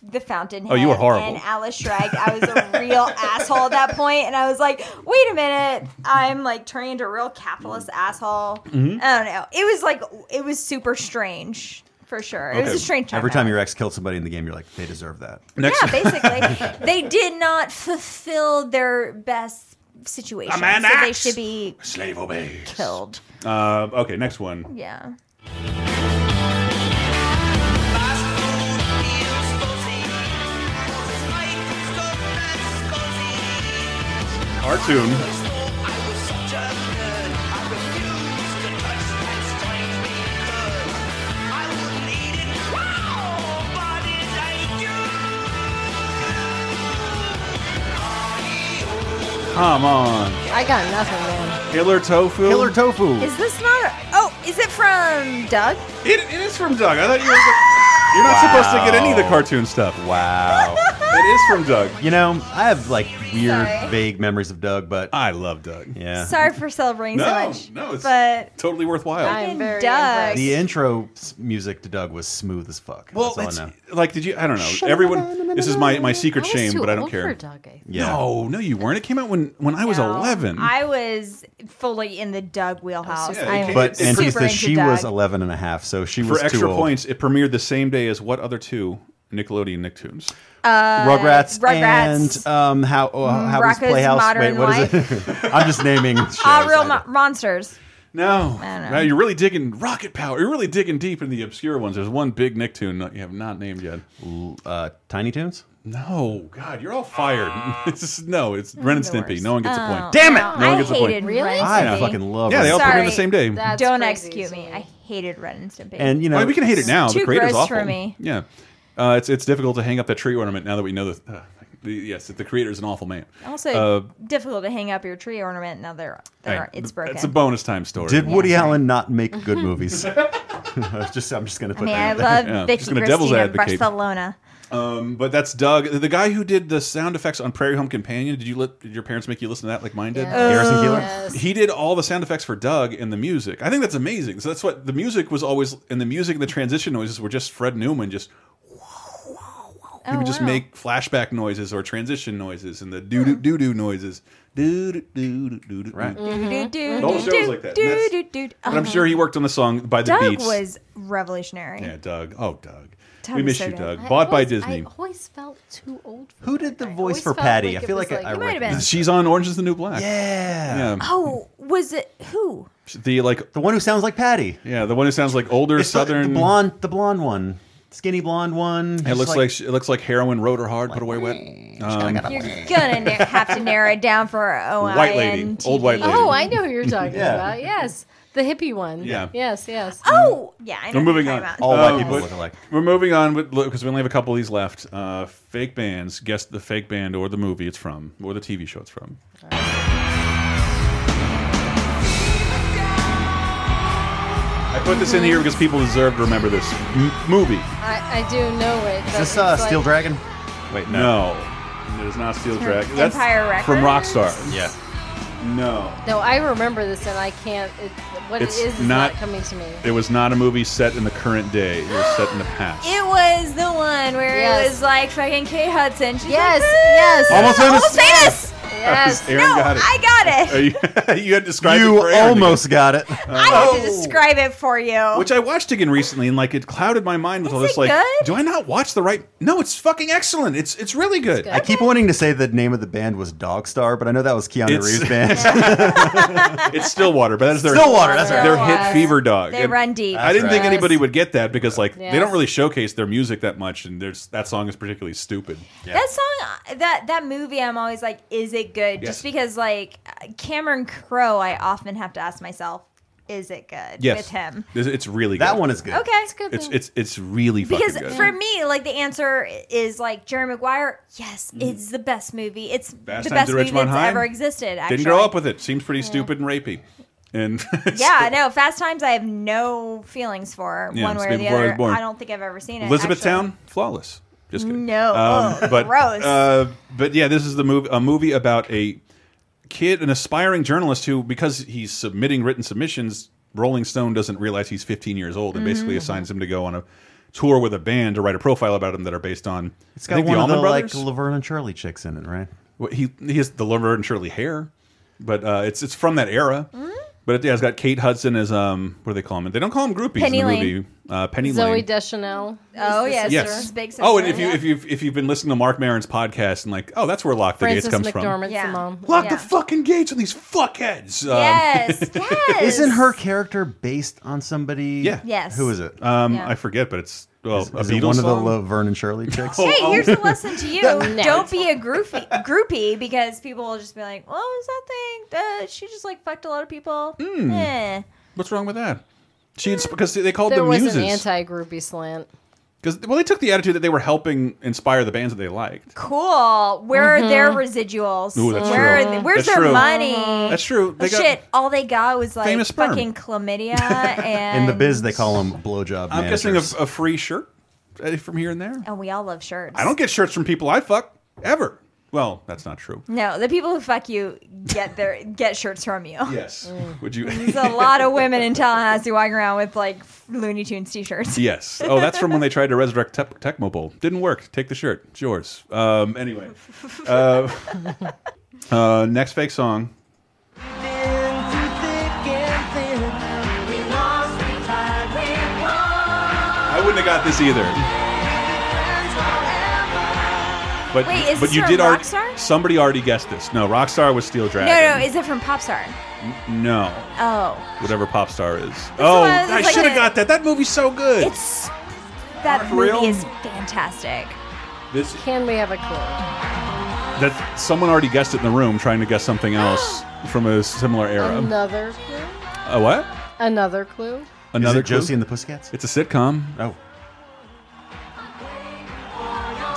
The Fountainhead.
Oh, you were horrible.
And Alice Shrek. I was a real asshole at that point, and I was like, "Wait a minute, I'm like turning into a real capitalist
Mm.
asshole."
Mm-hmm.
Mhm.
I don't know. It was like it was super strange for sure. It was a strange time.
Every time your ex killed somebody in the game, you're like, they deserve that.
Next,
yeah, basically, they did not fulfill their best situation,
I'm an
so they
axe.
should be
slave obeys.
killed.
Uh, okay, next one.
Yeah.
Cartoon. Come on,
I got nothing, man.
Killer Tofu.
Killer Tofu.
Is this not? A, oh, is it from Doug?
It, it is from Doug. I thought you were. You're not supposed to get any of the
Wow.
cartoon stuff. Oh. It
Wow.
is from Doug.
you know, I have like weird,
Sorry.
vague memories of Doug, but
I love Doug.
yeah.
Sorry for celebrating so
No,
much.
no, it's-
but
Totally worthwhile.
I am very
Doug.
impressed.
The intro s- music to Doug was smooth as fuck.
Well,
That's all I know.
it's- like, did you? I don't know. Everyone, this is my my
I
secret
was
shame,
too
but I don't
old For
care.
Doug, I think.
Yeah.
No, no, you weren't. It came out when when I was
No,
11.
I was fully in the Doug wheelhouse.
Yeah, it
I
came-
But
It's
and
super
Tista,
into
she
Doug. Uh,
was 11 and a half, so she
For
was too
extra
old.
points, it premiered the same day as what other two Nickelodeon Nicktoons?
Rugrats,
Uh, Rugrats.
and um, how oh, how was
Rocko's
Playhouse?
Modern
Wait, what is it? I'm just naming. shows.
Ah, real
I-
mo- monsters.
No,
I don't
Wow,
know.
you're really digging Rocket Power. You're really digging deep in the obscure ones. There's one big Nicktoon that you have not named yet.
uh, Tiny Toons.
No, God, you're all fired. This is- no, it's Ren and
the
Stimpy.
worst.
No one gets a point.
Oh.
Damn it!
Oh,
No one
I
gets a point.
hated
Really?
Ren and
I
Stimpy.
fucking love.
Yeah, they all
Rugrats.
premiered
Sorry.
the same day.
That's
Don't
crazy,
execute me.
so-
I hated Red and Stimpy.
and you know
Well, we can hate it now. The
too
creator's
gross
awful.
for me.
Yeah, uh, it's it's difficult to hang up that tree ornament now that we know the. Uh, the yes, the creator's an awful man.
also
uh,
difficult to hang up your tree ornament. Now they're, they're
hey,
it's
th-
broken.
It's a bonus time story.
Did Woody
sorry.
Allen not make good movies? I was just I'm just gonna
I
put
mean, I
that. out there.
love
Yeah,
Vicky
just gonna devil's
Cristina in
advocate.
Barcelona.
Um, but that's Doug, the guy who did the sound effects on Prairie Home Companion. Did you let did your parents make you listen to that like mine did?
Yeah.
Garrison Keillor.
Yes.
He did all the sound effects for Doug and the music. I think that's amazing. So that's what the music was always, and the music and the transition noises were just Fred Newman just. He would just
Oh, wow. Hmm.
make flashback noises or transition noises and the doo doo doo doo noises. Doo doo doo doo doo doo.
Right.
Mm-hmm.
Do, do,
All the
do,
shows
do,
like that, and
do,
that's-
do, do, do.
But I'm sure he worked on the song by the
Doug
beats.
was revolutionary.
yeah, Doug. Oh, Doug.
Doug
we
was
miss
so
you,
good.
Doug.
I
Bought by
always-
Disney.
I always felt too old. For
Who did the
Doug. I
voice
always
for
felt
Patty?
like
I
it
feel
was
like, I, I
like-
might have been.
recognize-
She's on Orange Is the New Black.
Yeah.
Yeah.
Oh, was it who?
The like
the one who sounds like Patty.
yeah, the one who sounds like older
It's the-
southern
the, blonde, the blonde one, skinny blonde one.
It looks like, it looks like heroin rode her hard, put away wet. Um,
You're gonna na- have to narrow it down for OIN.
White lady.
E.
Old white lady.
Oh, I know who you're talking
Yeah.
about. Yes, the hippie one.
Yeah.
Yes. Yes.
Oh, yeah. I know
We're
what you're
moving
talking
on.
about.
all white
Oh,
people
but-
look alike.
we're moving on with because we only have a couple of these left. Uh, fake bands. Guess the fake band or the movie it's from or the TV show it's from. I put this in here because people deserve to remember this m movie.
I, I do know it.
Is this uh, Steel Dragon? Wait,
No, it is not Steel Dragon. That's
Empire
from
Records?
Rockstar.
Yeah.
No.
No, I remember this, and I can't. It, what
It's
it is is
not-
not, coming to me.
It was not a movie set in the current day. It was set in the past.
It was the one where it
Yes.
was like fucking Kate Hudson. She's
Yes,
like,
yes.
"Ooh,
Almost famous."
Almost famous.
Yes.
Aaron
No,
got it.
I got
Uh,
it.
you, you had described it
You
for Aaron
almost got it.
I had to describe it for you.
again. Oh. Which I watched again recently, and like it clouded my mind with
Oh. Is
all this.
it
Like,
good?
do I not watch the right? No, it's fucking excellent. It's it's really good.
I keep wanting to say the name of the band was Dogstar, but I know that was Keanu
It's-
Reeves' band.
It's Stillwater, but that's their
Stillwater, that's right.
their
Stillwater.
hit Fever Dog.
They
And
run deep.
I didn't think
Yes.
anybody would get that because like they
Yes.
don't really showcase their music that much, and there's that song is particularly stupid.
That song, that that movie, I'm always like, is it good?
Yes.
Just because like Cameron Crowe, I often have to ask myself, is it good
Yes,
with him?
It's- it's really good.
That one is good.
Okay,
good.
It's it's it's really fucking
because
good.
for me, like the answer is like Jerry Maguire. Yes, it's the best movie. It's
Mm-hmm. Fast
the
Times at
best movie
Ridgemont
that's
High.
ever existed. Actually.
Didn't grow up with it. Seems pretty stupid and rapey. And
Yeah, no. Fast Times, I have no feelings for
Yeah,
one
it's
way or
been
the
before I was
other.
born.
I don't think I've ever seen it.
Elizabethtown,
actually.
flawless. Just kidding. Um,
No. Oh,
but
gross.
Uh, but yeah, this is the movie. A movie about a kid, an aspiring journalist who, because he's
Mm-hmm.
submitting written submissions, Rolling Stone doesn't realize he's 15 years old and basically assigns him to go on a tour with a band to write a profile about him that are based on.
It's
I
got
think
one
the
of the
Allman Brothers.
like Laverne and Shirley chicks in it, right?
Well, he he has the Laverne and Shirley hair, but uh, it's it's from that era.
Mm-hmm.
But it, yeah, it's got Kate Hudson as um what do they call him? They don't call him groupies
Penny
in the
Lane.
movie. Uh, Penny
Zoe
Lane.
Deschanel. uh,
Oh,
is the
yes.
sister.
Yes.
big
oh, and if
sister,
you
yeah.
if you if you've been listening to Mark Maron's podcast and like, oh, that's where Lock the
Frances
Gates comes
McDormand's
Yeah.
the mom.
from. Lock
Yeah.
the fucking gates on these fuckheads. Um,
Yes, yes.
Isn't her character based on somebody?
Yeah.
Yes.
Who is it?
Um,
Yeah.
I forget, but it's well,
Is-
a
is
Beatles
it one
song?
of the Laverne and Shirley chicks?
Hey,
Oh.
here's a lesson to you.
No.
Don't be a groupie, groupie because people will just be like, "What was that thing? Uh, she just like fucked a lot of people."
Hmm.
Eh.
What's wrong with that? She ins- because they called
There
them
was
muses.
an anti-groupie slant.
Because well, they took the attitude that they were helping inspire the bands that they liked.
Cool. Where are their residuals?
Ooh, that's
Where
true.
Are they, where's
That's
their
true.
money?
That's true. They got,
Shit, all they got was like
Famous sperm.
fucking chlamydia and
In the biz, they call them blowjob
I'm
managers.
guessing a, a free shirt uh, from here and there.
And Oh, we all love shirts.
I don't get shirts from people I fuck ever. Well, that's not true.
No, the people who fuck you get their get shirts from you.
Yes.
Mm.
Would you?
There's a lot of women in Tallahassee walking around with like Looney Tunes t-shirts.
yes. Oh, that's from when they tried to resurrect Tec Tecmo Bowl. Didn't work. Take the shirt. It's yours. Um, anyway. Uh, uh, next fake song. I wouldn't have got this either. But,
Wait, is
but
this
you
from
did already.
Rockstar?
Somebody already guessed this. No, Rockstar was Steel
No, no,
Dragon.
is it from Popstar?
no.
Oh,
whatever pop star is. oh,
one is
I
like
should have
a-
got that. That movie's so good.
it's that
For
movie
real?
is fantastic.
this
Can we have a clue?
that someone already guessed it in the room, trying to guess something else from a similar era.
Another clue?
A what?
Another clue?
Another
Is it Josie
clue?
and the Pussycats?
It's a sitcom.
Oh,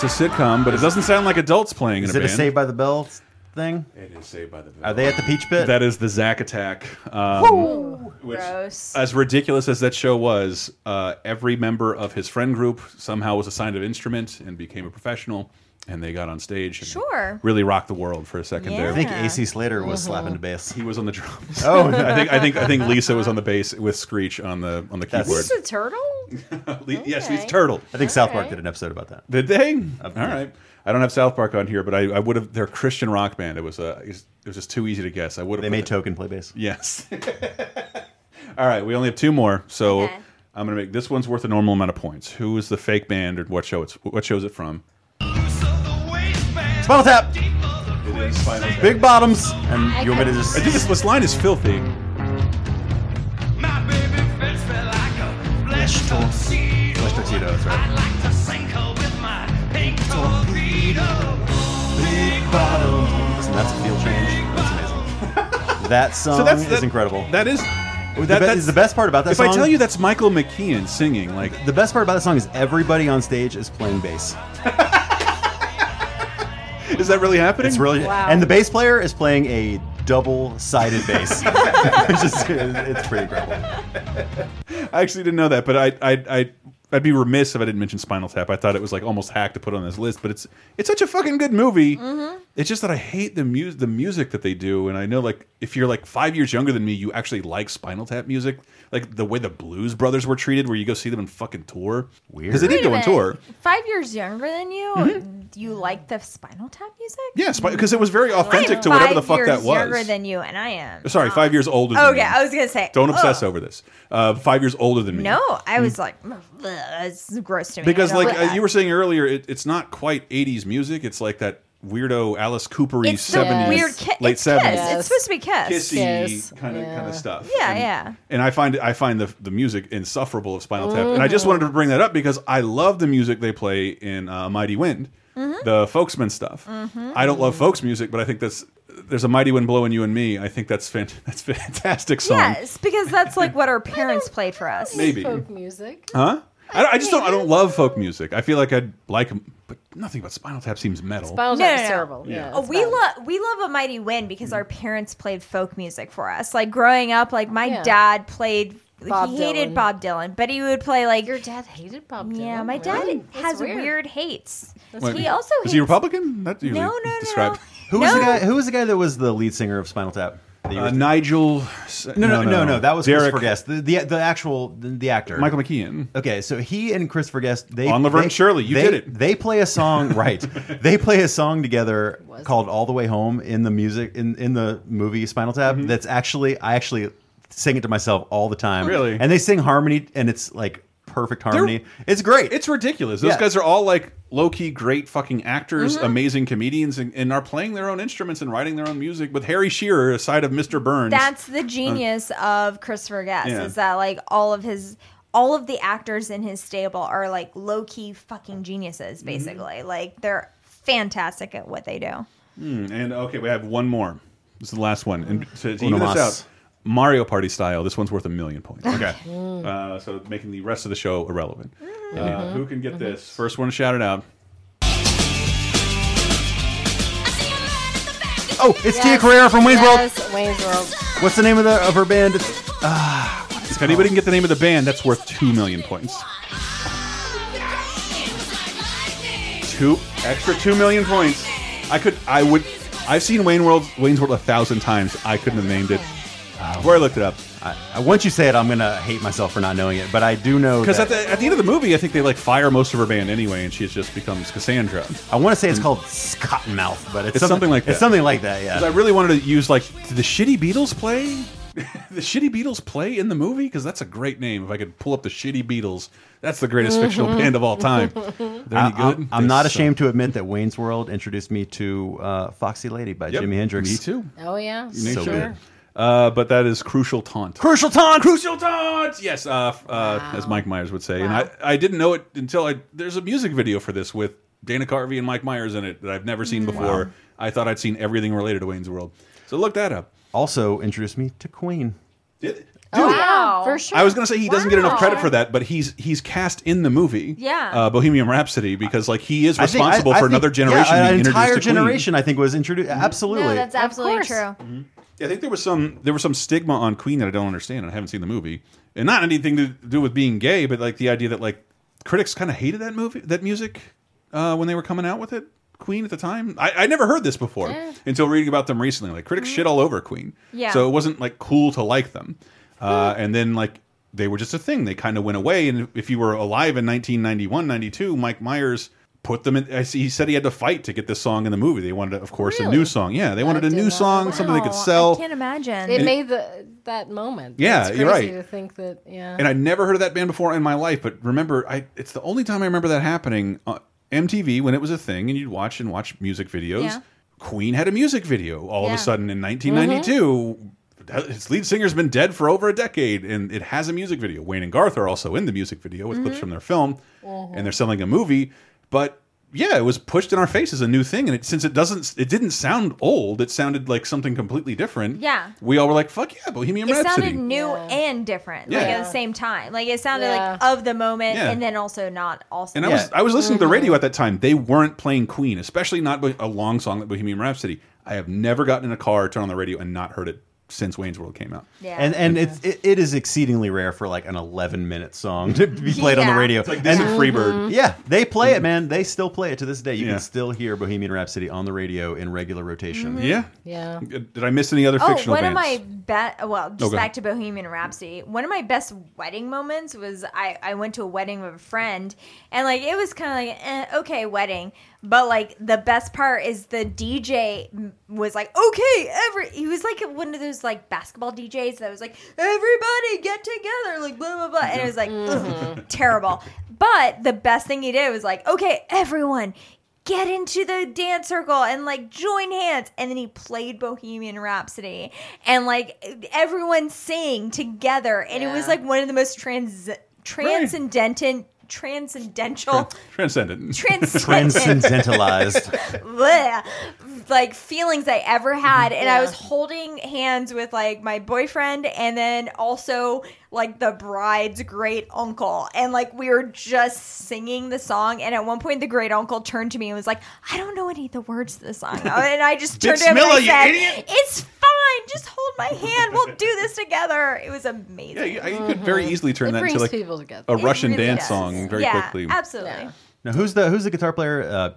It's a sitcom, but it doesn't sound like adults playing
is
in a
it a
band.
Saved by the Bell thing?
It is Saved by the Bell.
Are they at the Peach Pit?
That is the Zack Attack. Um, which, uh,
Gross.
as ridiculous as that show was, uh, every member of his friend group somehow was assigned an instrument and became a professional, and they got on stage. And
Sure.
Really rocked the world for a second
I
there.
think AC Slater
Mm-hmm.
was slapping the bass.
He was on the drums.
Oh,
I think I think I think Lisa was on the bass with Screech on the on the
That's-
keyboard.
It's a turtle?
Le- Yes,
okay.
Lisa Turtle.
I think South Park
Okay.
did an episode about that.
Did they? All right. I don't have South Park on here, but I, I would have. They're a Christian rock band. It was uh, it was just too easy to guess. I would have.
They
put
made
that-
Token play bass.
Yes. All right. We only have two more, so
Okay.
I'm gonna make this one's worth a normal amount of points. Who is the fake band, or what show it's what shows it from?
Spinal Tap, Big Bottoms,
I
and you want me to
couldn't-
I
just?
think this, this line is filthy.
Flesh Tortito, that's right. Listen, that's a field change. That's amazing. That song
So that's
is
that-
Oh, incredible.
That is.
the,
that-
be-
that's-
the best part about that
If
song.
I tell you that's Michael McKean singing, like
the best part about that song is everybody on stage is playing bass.
Is that really happening?
It's really
Wow.
and the bass player is playing a double-sided bass. it's, just, it's pretty incredible.
I actually didn't know that, but I, I, I, I'd be remiss if I didn't mention Spinal Tap. I thought it was like almost hack to put on this list, but it's it's such a fucking good movie.
Mm-hmm.
It's just that I hate the music, the music that they do, and I know like if you're like five years younger than me, you actually like Spinal Tap music, like the way the Blues Brothers were treated, where you go see them and fucking tour.
Weird.
because they did
Wait a
go on
minute.
tour. Mm-hmm.
Five years younger than you, you like the Spinal Tap music?
Yes, because it was very
I'm
authentic to whatever the
five
fuck that
years Younger
was.
than you, and I am.
Sorry, five years older. Than
Okay,
me.
I was gonna say.
Don't obsess
ugh.
over this. Uh, five years older than me. Mm.
No, I was like, "Ugh, that's gross to me.
because
I don't
like uh,
that.
you were saying earlier it, it's not quite 80s music it's like that weirdo alice coopery
it's
70s
the weird ki-
late
it's
70s
Kiss.
Yes.
It's supposed to be Kiss.
kissy
Yes.
kind of kind
Yeah.
of stuff
Yeah,
and,
yeah.
and i find i find the the music insufferable of spinal tap and i
Mm-hmm.
just wanted to bring that up because i love the music they play in uh, mighty wind
Mm-hmm.
the folksman stuff i don't love folks music but i think that's there's a mighty wind blowing you and me i think that's fan that's a fantastic song
Yes, because that's like what our parents played for us.
maybe
Folk music.
Huh? I, don't- I just don't. I don't love folk music. I feel like I'd like, 'em, but nothing about Spinal Tap seems metal.
Spinal
No, no,
Tap is
no.
terrible. Yeah.
Oh,
it's
we
bad.
love we love a mighty wind because our parents played folk music for us. Like growing up, like my
Yeah.
dad played.
Bob
he hated
Dylan.
Bob Dylan, but he would play like
Your dad hated Bob Dylan.
yeah. My dad
really? That's
has weird. hates.
Wait,
he also
was
hates.
he Republican? That usually
no, no, no.
described.
Who was
No.
the guy? Who was the guy that was the lead singer of Spinal Tap?
Uh, Nigel. S-
No, no, no, no, That was
Derek.
Christopher Guest, the, the the actual the, the actor,
Michael McKean.
Okay, so he and Christopher Guest, they
On Laverne
they-
and Shirley, you
they-
did it.
They play a song, right? They play a song together called "All the Way Home" in the music in in the movie Spinal Tap.
Mm-hmm.
That's actually I actually sing it to myself all the time.
Really?
and they sing harmony, and it's like perfect harmony. it's great.
It's ridiculous. Those
Yeah.
guys are all like low key great fucking actors,
Mm-hmm.
amazing comedians, and, and are playing their own instruments and writing their own music. With Harry Shearer, aside of Mr. Burns,
That's the genius of Christopher Guest
Yeah.
is that like all of his all of the actors in his stable are like low key fucking
Mm-hmm.
geniuses basically. Like they're fantastic at what they do.
Hmm, and okay, we have one more. This is the last one, and to, to even
Uno
this
mas.
out, Mario Party style. This one's worth a million points.
Okay.
uh, so making the rest of the show irrelevant.
Mm-hmm.
Uh, who can get this? First one to shout it out.
Oh, it's Tia Carrera from Wayne's World.
Yes, Wayne's World.
What's the name of the of her band? It's, ah,
If anybody can get the name of the band, that's worth two million points. Two extra two million points. I could. I would. I've seen Wayne World, Wayne's World a thousand times. I couldn't have named it. Where I looked it up.
I- once you say it, I'm gonna hate myself for not knowing it. But I do know
Because
that-
at the, at the end of the movie, I think they like fire most of her band anyway, and she just becomes Cassandra.
I want to say it's called Cottonmouth, but it's,
It's something like that.
It's something like that,
'Cause
yeah.
I really wanted to use like, did the shitty Beatles play? the shitty Beatles play in the movie? Because that's a great name. If I could pull up the shitty Beatles, that's the greatest fictional band of all time. They're any
I,
good?
am
They
not
suck.
ashamed to admit that Wayne's World introduced me to uh, Foxy Lady by
Yep,
Jimi Hendrix.
Me too.
Oh yeah.
Me
So
too.
good.
Uh, but that is crucial taunt.
Crucial Taunt!
Crucial taunt. Yes, uh, f- uh, as Mike Myers would say, and I, I didn't know it until I. There's a music video for this with Dana Carvey and Mike Myers in it that I've never seen before. I thought I'd seen everything related to Wayne's World, so look that up.
Also introduced me to Queen.
Did-
Oh,
Wow. For sure.
I was gonna say he doesn't get enough
Wow.
credit for that, but he's he's cast in the movie,
Yeah.
uh, Bohemian Rhapsody, because like he is
I think- I-
responsible
I
for
think-
another generation.
Yeah, an
being introduced
entire
to Queen. Mm-hmm.
generation, I think, was introduced. Absolutely.
No, that's absolutely
course.
true.
I think there was some there was some stigma on Queen that I don't understand. and I haven't seen the movie, and not anything to do with being gay, but like the idea that like critics kind of hated that movie, that music, uh, when they were coming out with it. Queen at the time, I, I never heard this before until reading about them recently. Like critics shit all over Queen,
Yeah.
So it wasn't like cool to like them, uh, and then like they were just a thing. They kind of went away, and if you were alive in 1991, 92, Mike Myers. Put them in. I see. He said he had to fight to get this song in the movie. They wanted, of course, a
Really?
new song. Yeah, they wanted a
did
new
not
song,
know.
something they could
Oh,
sell.
I can't imagine.
It made the that moment.
Yeah,
It's crazy
you're right.
To think that, yeah.
and I'd never heard of that band before in my life. But remember, I it's the only time I remember that happening. Uh, MTV when it was a thing, and you'd watch and watch music videos.
Yeah.
Queen had a music video all of
Yeah. Mm-hmm.
a sudden in 1992. That- Its lead singer's been dead for over a decade, and it has a music video. Wayne and Garth are also in the music video with
Mm-hmm.
clips from their film, and they're selling a movie. But yeah, it was pushed in our face as a new thing, and it, since it doesn't, it didn't sound old. It sounded like something completely different.
Yeah.
we all were like, "Fuck yeah, Bohemian
it
Rhapsody."
sounded new and different, like
Yeah.
at the same time. Like it sounded like
Yeah.
of the moment,
Yeah.
and then also not also.
And I was I was listening to the
Mm-hmm.
radio at that time. They weren't playing Queen, especially not bo- a long song like Bohemian Rhapsody. I have never gotten in a car, turned on the radio, and not heard it since Wayne's World came out.
yeah.
And and it's, it, it is exceedingly rare for like an 11 minute song to be played on the
Yeah.
radio.
Like this
And-
Mm-hmm.
and Freebird.
Yeah, they play it, man. They still play it to this day. You
Yeah.
can still hear Bohemian Rhapsody on the radio in regular rotation.
Mm-hmm.
Yeah.
yeah.
Did I miss any other
Oh,
fictional
one
bands?
of my be- well,
Oh,
just
go ahead.
back to Bohemian Rhapsody. One of my best wedding moments was I, I went to a wedding with a friend, and like it was kind of like eh, okay wedding, but like the best part is the DJ m- was like okay every he was like one of those like basketball DJs that was like everybody get together like blah blah blah, and it was like ugh, terrible. But the best thing he did was like okay everyone get into the dance circle and like join hands and then he played bohemian rhapsody and like everyone sang together and it was
Yeah.
like one of the most trans transcendental transcendental
Transcendent.
transcendent
Transcendentalized.
bleh, like feelings i ever
Mm-hmm.
had and i was holding hands with like my boyfriend and then also like the bride's great uncle and like we were just singing the song and at one point the great uncle turned to me and was like i don't know any of the words to the song and i just
Dick
turned to him and
Smilla,
i
you
said
idiot!
it's fine just hold my hand we'll do this together it was amazing
yeah, you, I- you could very
Mm-hmm.
easily turn
It
that into
brings
like
people together.
a
It
Russian
really
dance
does.
song very
yeah,
quickly.
absolutely
Yeah.
now, who's the who's the guitar player? Uh,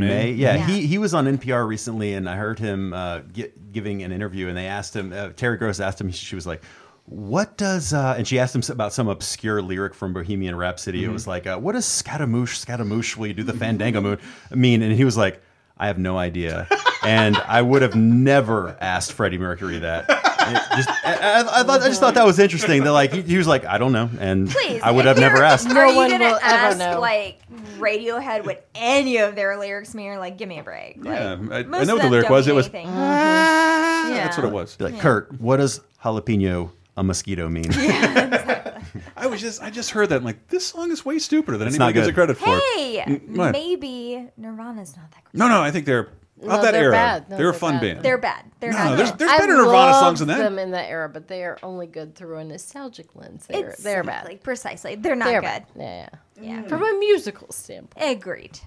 Brian May?
May. Yeah,
Yeah.
he he was on NPR recently, and I heard him uh, gi- giving an interview, and they asked him. Uh, Terry Gross asked him. She was like. What does uh, and she asked him about some obscure lyric from Bohemian Rhapsody. It
Mhm.
was like, uh, "What does scatamouche, scatamouche, will you do the fandango moon mean?" And he was like, "I have no idea," and I would have never asked Freddie Mercury that. It just, I, I- I thought, I just thought that was interesting. That like he, he was like, "I don't know," and
Please,
I would
if
have never
you're-
asked.
Are
No one
you gonna
will ever
ask
know.
like Radiohead what any of their lyrics mean? Or like, give me a break. Like,
Yeah, I, I
most of
know what the
them
lyric
don't
was. It
mean
was.
Mm-hmm.
anything. Yeah.
That's what it was.
Be like, Kurt, what does jalapeno a mosquito mean?
I was just, I just heard that. I'm like, this song is way stupider than
It's
anybody
not
gives
good.
it credit for.
Hey,
Mm, what?
maybe Nirvana's not that.
No, no, I think they're of
No,
that
they're
era.
bad. No,
they're,
they're
a fun
bad.
band.
They're bad. They're
No,
not.
there's-
good.
there's
I
better Nirvana
love
songs than that.
Them in that era, but they are only good through a nostalgic lens. They're they're bad.
Exactly, precisely. They're not
They're
good.
bad. Mm-hmm.
yeah.
Yeah, From a musical standpoint,
Agreed.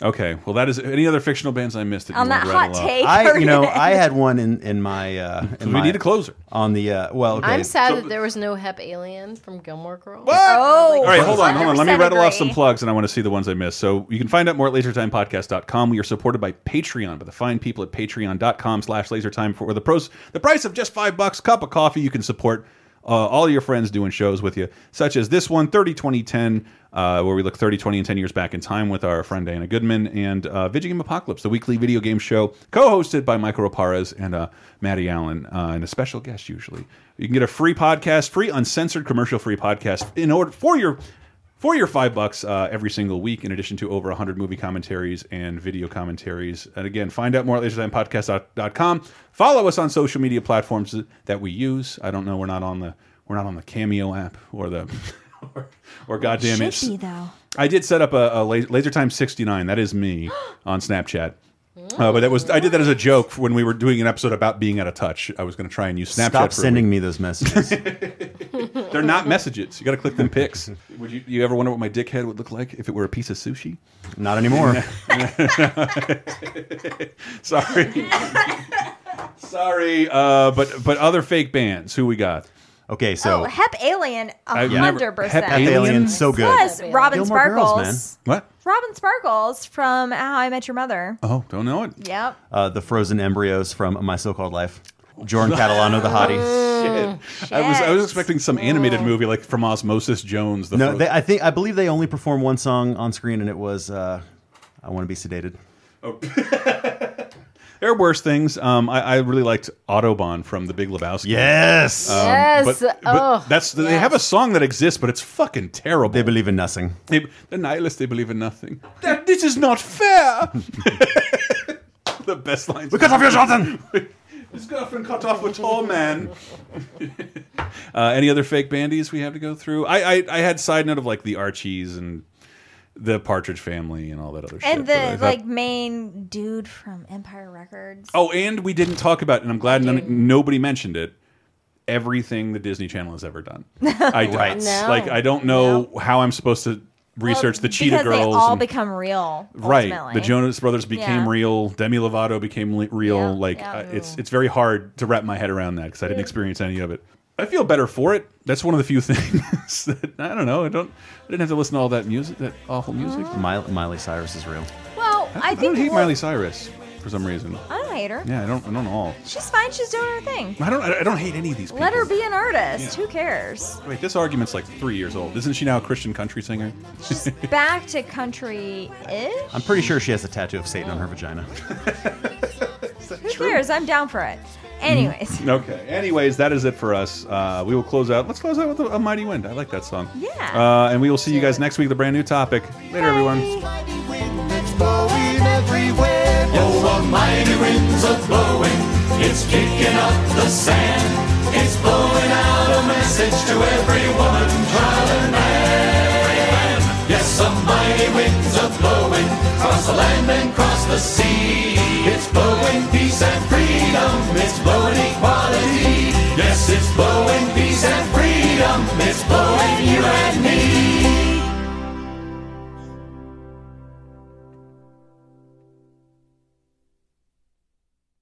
Okay, well, that is any other fictional bands I missed. That you
On
wanna
that
rattle
hot
off?
take.
I, you know, I had one in in my. Uh, in
we
my-
need a closer
on the. Uh, well, okay.
I'm sad that there was no Hep Alien from Gilmore Girls.
Oh,
All right, hold on, hold on. Let me
100%
rattle off
agree.
some plugs, and I want to see the ones I missed. So you can find out more at lasertimepodcast.com. We are supported by Patreon, by the fine people at patreon.com slash lasertime. For the pros, the price of just five bucks, cup of coffee, you can support uh, all your friends doing shows with you, such as this one, 30, 20, 10, uh, where we look 30, 20, and 10 years back in time with our friend Dana Goodman, and uh, Video Game Apocalypse, the weekly video game show co-hosted by Michael Raparez and uh, Maddie Allen, uh, and a special guest usually. You can get a free podcast, free uncensored commercial-free podcast in order for your for your five bucks uh, every single week, in addition to over 100 movie commentaries and video commentaries. And again, find out more at lasertimepodcast.com. Follow us on social media platforms that we use. I don't know, we're not on the we're not on the Cameo app or the or, or goddamn it.
Should be, though.
I did set up a, a laser, laser time 69. That is me on Snapchat. Uh, but that was I did that as a joke when we were doing an episode about being out of touch. I was going to try and use Snapchat.
Stop
for a
sending me those messages.
week. They're not messages. You got to click them pics. Would you, you ever wonder what my dickhead would look like if it were a piece of sushi?
Not anymore.
Sorry. Sorry, uh, but but other fake bands. Who we got?
Okay,
Oh, Hep Alien,
I've never-
hundred percent.
Hep Alien? Hep Alien's so good.
Plus,
Hep
Robin
Gilmore Girls,
Sparkles.
man. What?
Robin Sparkles from How I Met Your Mother.
Oh, don't know it.
Yep.
Uh, the frozen embryos from My So-Called Life. Jordan Catalano, the hottie.
Shit. I was I was expecting some animated movie like from Osmosis Jones. The
No,
fro-
they, I think I believe they only performed one song on screen, and it was uh, "I Want to Be Sedated."
there are worse things. Um, I, I really liked Autobahn from The Big Lebowski.
Yes.
Oh, Yes.
Um, But, but
Oh,
that's they have a song that exists, but it's fucking terrible.
They believe in nothing.
They, the nihilists, they believe in nothing. That, this is not fair. the best lines.
We cut off your Jonathan.
His girlfriend cut off a tall man. uh, any other fake bandies we have to go through? I, I I had side note of like the Archies and the Partridge Family and all that other shit.
And
but I
the
thought-
like main dude from Empire Records.
Oh, and we didn't talk about, and I'm glad none, nobody mentioned it. Everything the Disney Channel has ever done, I don't.
Right.
No.
Like I don't know how I'm supposed to research the Cheetah
because
Girls.
they all
and-
become real.
right, the
ultimately.
Jonas Brothers became
Yeah.
real. Demi Lovato became li- real.
Yeah,
like
yeah.
I- it's it's very hard to wrap my head around that because I didn't experience any of it. I feel better for it. That's one of the few things that I don't know. I don't. I didn't have to listen to all that music, that awful music.
Miley, Miley Cyrus is real.
Well, Mm-hmm. I,
I
think
don't hate
we'll-
Miley Cyrus for some reason.
I don't hate her.
Yeah, I don't. I don't know all.
She's fine. She's doing her thing.
I don't. I don't hate any of these. people.
Let her be an artist.
Yeah.
Who cares?
Wait, this argument's like three years old. Isn't she now a Christian country singer?
She's back to country ish.
I'm pretty sure she has a tattoo of Satan on her vagina.
Who cares? I'm down for it.
Mm-hmm.
Anyways.
Okay. Anyways, that is it for us. Uh, we will close out. Let's close out with a, a mighty wind. I like that song.
Yeah.
Uh, and we will see you guys next week with a brand new topic. Later, everyone.
It's blowing everywhere. Oh, a mighty winds are blowing. It's kicking up the sand. It's blowing out a message to every woman, child, and man. Yes, some mighty winds are blowing across the land and across the sea. It's blowing peace and freedom. It's blowing equality. Yes, it's blowing peace and freedom. It's blowing you and me.